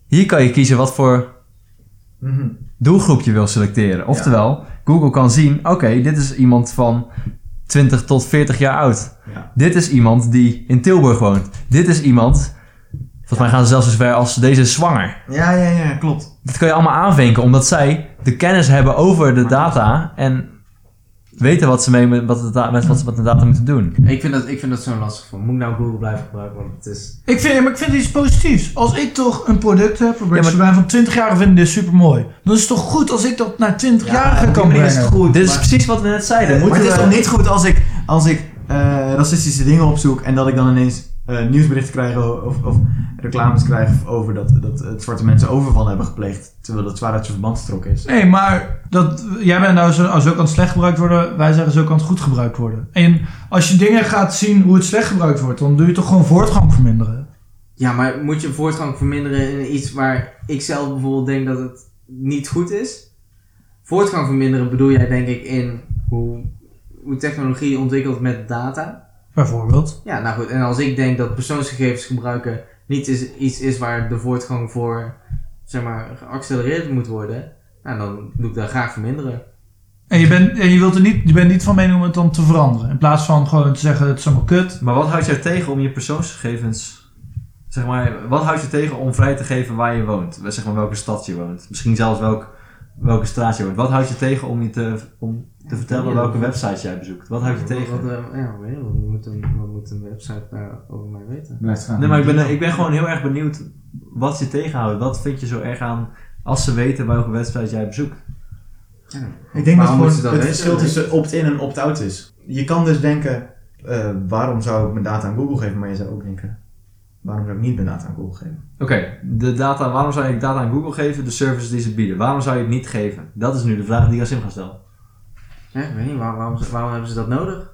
hier kan je kiezen wat voor Mhm. doelgroep je wil selecteren. Oftewel, Google kan zien, oké, dit is iemand van 20 tot 40 jaar oud. Ja. Dit is iemand die in Tilburg woont. Dit is iemand, volgens mij gaan ze zelfs zover als deze is zwanger. ja, ja, ja, klopt. Dat kan je allemaal aanvinken, omdat zij de kennis hebben over de data en weten wat ze mee met, wat de, da- met, wat ze met de data moeten doen. Ik vind dat, ik vind dat zo'n lastig van. Moet ik nou Google blijven gebruiken? Want het is. Ik vind, maar ik vind het iets positiefs. Als ik toch een product heb, waarbij Ja, maar- ze mij van 20 jaar vinden dit super mooi. Dan is het toch goed als ik dat naar 20 jarigen op die kan manier brengen. is het goed. Dit is maar- precies wat we net zeiden. Eh, maar Moeten het is we- toch niet goed als ik, als ik eh, racistische dingen opzoek en dat ik dan ineens eh, nieuwsberichten krijg o- of, of reclames krijg over dat, dat eh, het zwarte mensen overvallen hebben gepleegd. Terwijl dat zwaar uit zijn verband getrokken is. Nee, maar dat, jij bent nou zo, oh, zo kan het slecht gebruikt worden. Wij zeggen zo kan het goed gebruikt worden. En als je dingen gaat zien hoe het slecht gebruikt wordt, dan doe je toch gewoon voortgang verminderen. Ja, maar moet je voortgang verminderen in iets waar ik zelf bijvoorbeeld denk dat het niet goed is? Voortgang verminderen bedoel jij denk ik in hoe, hoe technologie ontwikkelt met data. Bijvoorbeeld. Ja, nou goed. En als ik denk dat persoonsgegevens gebruiken niet is, iets is waar de voortgang voor, zeg maar, geaccelereerd moet worden, nou, dan doe ik daar graag verminderen. En je bent, en je wilt er niet, je bent niet van mening om het dan te veranderen. In plaats van gewoon te zeggen het is allemaal kut. Maar wat houdt jou tegen om je persoonsgegevens... Zeg maar, wat houdt je tegen om vrij te geven waar je woont? Zeg maar welke stad je woont. Misschien zelfs welk, welke straat je woont. Wat houdt je tegen om, je te, om te vertellen welke website jij bezoekt? Wat houdt je tegen? Wat, eh, ja, weet je, wat, moet een, wat moet een website daarover mij weten? Blijft gaan. Nee, maar ik ben, ik ben gewoon heel erg benieuwd wat ze tegenhoudt. Wat vind je zo erg aan als ze weten welke wedstrijd jij bezoekt? Ik denk dat Waarom gewoon moeten ze dat het weten? verschil tussen opt-in en opt-out is. Je kan dus denken, eh, waarom zou ik mijn data aan Google geven? Maar je zou ook denken, waarom zou ik niet mijn data aan Google geven? Oké, de data, waarom zou je data aan Google geven? De services die ze bieden. Waarom zou je het niet geven? Dat is nu de vraag die ik aan Sim ga stellen. Ja, ik weet niet, waar- waarom, ze- waarom hebben ze dat nodig?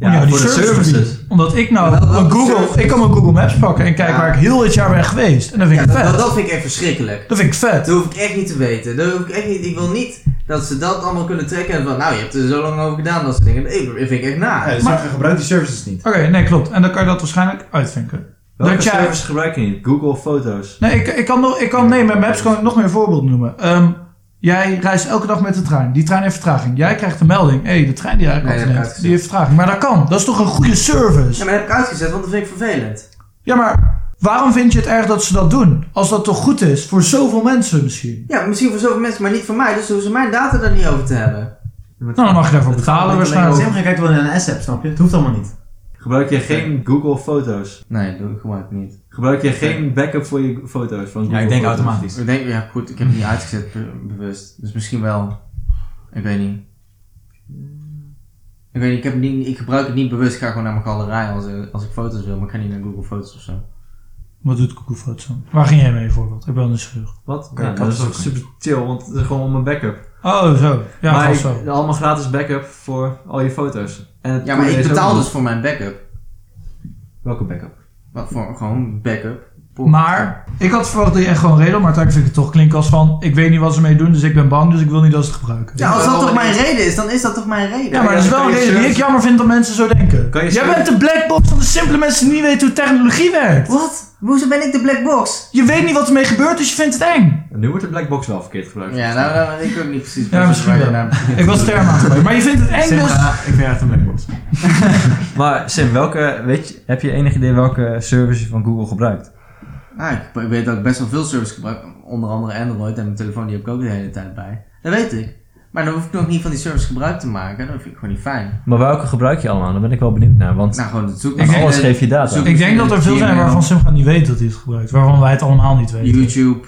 Om jou die service te bieden. Omdat ik nou Wel, wel mijn de Google, service. ik kan mijn Google Maps pakken en kijken Ja. waar ik heel dit jaar ben geweest. En dat vind Ja, ik dat, vet. dat vind ik echt verschrikkelijk. Dat vind ik vet. Dat hoef ik echt niet te weten. Dat hoef ik echt niet. Ik wil niet dat ze dat allemaal kunnen trekken en van, nou, je hebt er zo lang over gedaan, dat soort dingen. Nee, Dat vind ik echt na. Ja, dus Maar- maar, gebruik die services niet. Oké, nee, klopt. En dan kan je dat waarschijnlijk uitvinken. Welke dat jij, service gebruik je niet? Google Foto's. Nee, ik, ik kan, nog, ik kan nee, met Maps gewoon nog meer voorbeelden noemen. Ehm, jij reist elke dag met de trein. Die trein heeft vertraging. Jij krijgt een melding. Hé, hey, de trein die jij Nee, nee, dat heb ik neemt, uitgezet. die heeft vertraging. Maar dat kan. Dat is toch een goede Ja, service? maar dat heb ik uitgezet, want dat vind ik vervelend. Ja, maar waarom vind je het erg dat ze dat doen? Als dat toch goed is? Voor zoveel mensen misschien. Ja, misschien voor zoveel mensen, maar niet voor mij, dus hoeven ze mijn data daar niet over te hebben. Nou, dan mag je daarvoor Het betalen gaat niet alleen waarschijnlijk. Sam gaat kijken wel in een S-app, snap je? Het hoeft allemaal niet. Gebruik je geen Google Foto's? Nee, doe ik gebruik niet. Gebruik je geen backup voor je foto's van Google Foto's? Ik denk, ja goed, ik heb het niet uitgezet be- bewust. Dus misschien wel. Ik weet niet. Ik weet niet, ik, heb het niet, ik gebruik het niet bewust. Ik ga gewoon naar mijn galerij als, eh, als ik foto's wil, maar ik ga niet naar Google Foto's of zo. Wat doet Google Foto's dan? Waar ging jij mee bijvoorbeeld? Ik ben dus nieuwsgierig. Wat? Oké, Ja, dat dat is is toch super chill, want het is gewoon om een backup. Oh, zo. Ja, maar vast zo. ik- allemaal gratis backup voor al je foto's. En het Ja, maar dus coole ik is ook betaal nog- dus voor mijn backup. Welke backup? Wat voor gewoon backup. Poort. Maar ik had verwacht dat je echt gewoon reden, maar uiteindelijk vind ik het toch klinken als van: ik weet niet wat ze mee doen, dus ik ben bang, dus ik wil niet dat ze het gebruiken. Ja, Ja, als als dat dat wel toch mijn eens. reden is, dan is dat toch mijn reden. Ja, maar dat is wel een je reden die surf- ik jammer vind dat mensen zo denken. Kan je Jij surf- bent de black box van de simpele mensen die niet weten hoe technologie werkt. Wat? Hoezo ben ik de black box? Je weet niet wat ermee gebeurt, dus je vindt het eng. Nu wordt de black box wel verkeerd gebruikt. Ja, nou, nou, ik ook niet precies. Ja, misschien waar je wel. naar begint. Ik was term aan het gebruiken, maar je vindt het eng, dus. Simba, ik ben echt een blackbox. Maar Sim, welke, weet je, heb je enig idee welke service je van Google gebruikt? Ah, ik, ik weet dat ik best wel veel service gebruik. Onder andere Android en mijn telefoon, die heb ik ook de hele tijd bij. Dat weet ik. Maar dan hoef ik nog niet van die service gebruik te maken. Dat vind ik gewoon niet fijn. Maar welke gebruik je allemaal? Daar ben ik wel benieuwd naar. Want Nou, gewoon het zoeken. aan alles geef je data. zoek- Ik denk dat er veel zijn waarvan Simga niet weet dat hij het gebruikt, waarvan wij het allemaal niet weten. YouTube.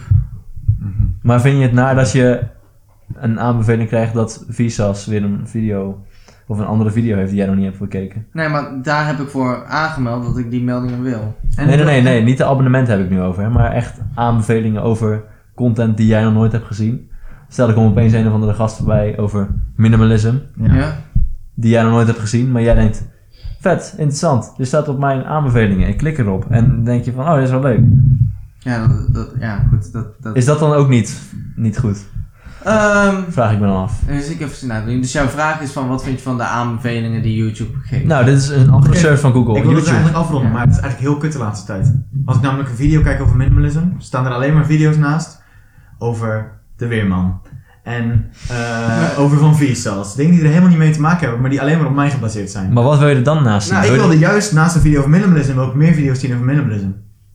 Mhm. Maar vind je het naar dat je een aanbeveling krijgt dat Visas weer een video of een andere video heeft die jij nog niet hebt bekeken? Nee, maar daar heb ik voor aangemeld dat ik die meldingen wil. nee, nee, nee, nee. Niet de abonnementen heb ik nu over, hè, maar echt aanbevelingen over content die jij nog nooit hebt gezien. Stel, ik kom opeens een of andere gast voorbij over minimalism, Ja? Ja. die jij nog nooit hebt gezien, maar jij denkt, vet, interessant, dit staat op mijn aanbevelingen. Ik klik erop en dan denk je van, oh, dit is wel leuk. Ja, dat, dat- ja goed. Dat, dat. Is dat dan ook niet, niet goed? Ehm, Vraag ik me dan af. dus ik even nadenken. Dus jouw vraag is van wat vind je van de aanbevelingen die YouTube geeft? Nou, dit is een andere Oké, service van Google, Ik wil het YouTube. eigenlijk afronden, maar het is eigenlijk heel kut de laatste tijd. Als ik namelijk een video kijk over minimalism, staan er alleen maar video's naast over de weerman. En eh, over van V-cells. Dingen die er helemaal niet mee te maken hebben, maar die alleen maar op mij gebaseerd zijn. Maar wat wil je er dan naast zien? Nou, ik Wil je- wilde juist naast een video over minimalism ook meer video's zien over minimalism.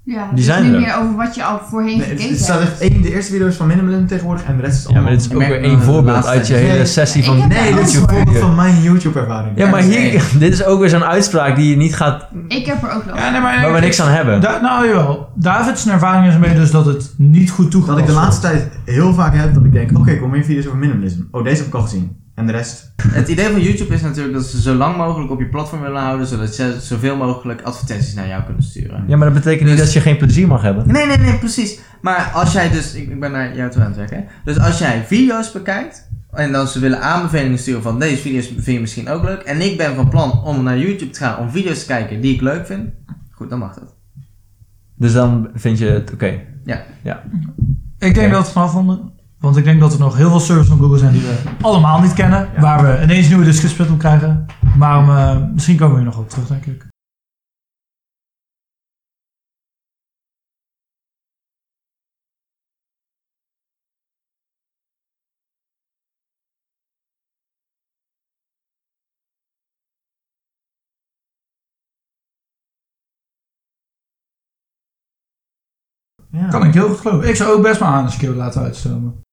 Ja, Die dus zijn niet er. meer over wat je al voorheen Nee, het, gekeken het hebt. staat echt één, de eerste video is van minimalism tegenwoordig en de rest is Ja, allemaal... maar dit is ook merk weer wel één dat de voorbeeld laatste uit je tijd- hele Nee, sessie ik van... heb- Nee, dit is een YouTube. voorbeeld van mijn YouTube-ervaring. Ja, maar hier, dit is ook weer zo'n uitspraak die je niet gaat... Ik heb er ook last Ja, van. nee, maar waar we niks aan hebben. Da- nou jawel, David's ervaring is mee dus dat het niet goed Dat toegepast ik de wordt. laatste tijd heel vaak heb dat ik denk, oké, ik kom meer video's over minimalism. Oh, deze heb ik al gezien. En de rest... Het idee van YouTube is natuurlijk dat ze zo lang mogelijk op je platform willen houden, zodat ze zoveel mogelijk advertenties naar jou kunnen sturen. Ja, maar dat betekent niet Dus- dat je geen plezier mag hebben. Nee, nee, nee, precies. Maar als jij dus, ik ik ben naar jou toe aan het werken, hè? dus als jij video's bekijkt en dan ze willen aanbevelingen sturen van deze video's vind je misschien ook leuk en ik ben van plan om naar YouTube te gaan om video's te kijken die ik leuk vind, goed, dan mag dat. Dus dan vind je het oké. Ik denk Ja. dat het vanaf onder... Want ik denk dat er nog heel veel services van Google zijn die we allemaal niet kennen. Ja. Waar we ineens nieuwe discussies met om krijgen. Maar eh, misschien komen we hier nog op terug, denk ik. Ja. Kan ik heel goed geloven. Ik zou ook best maar aan een keer laten uitstomen.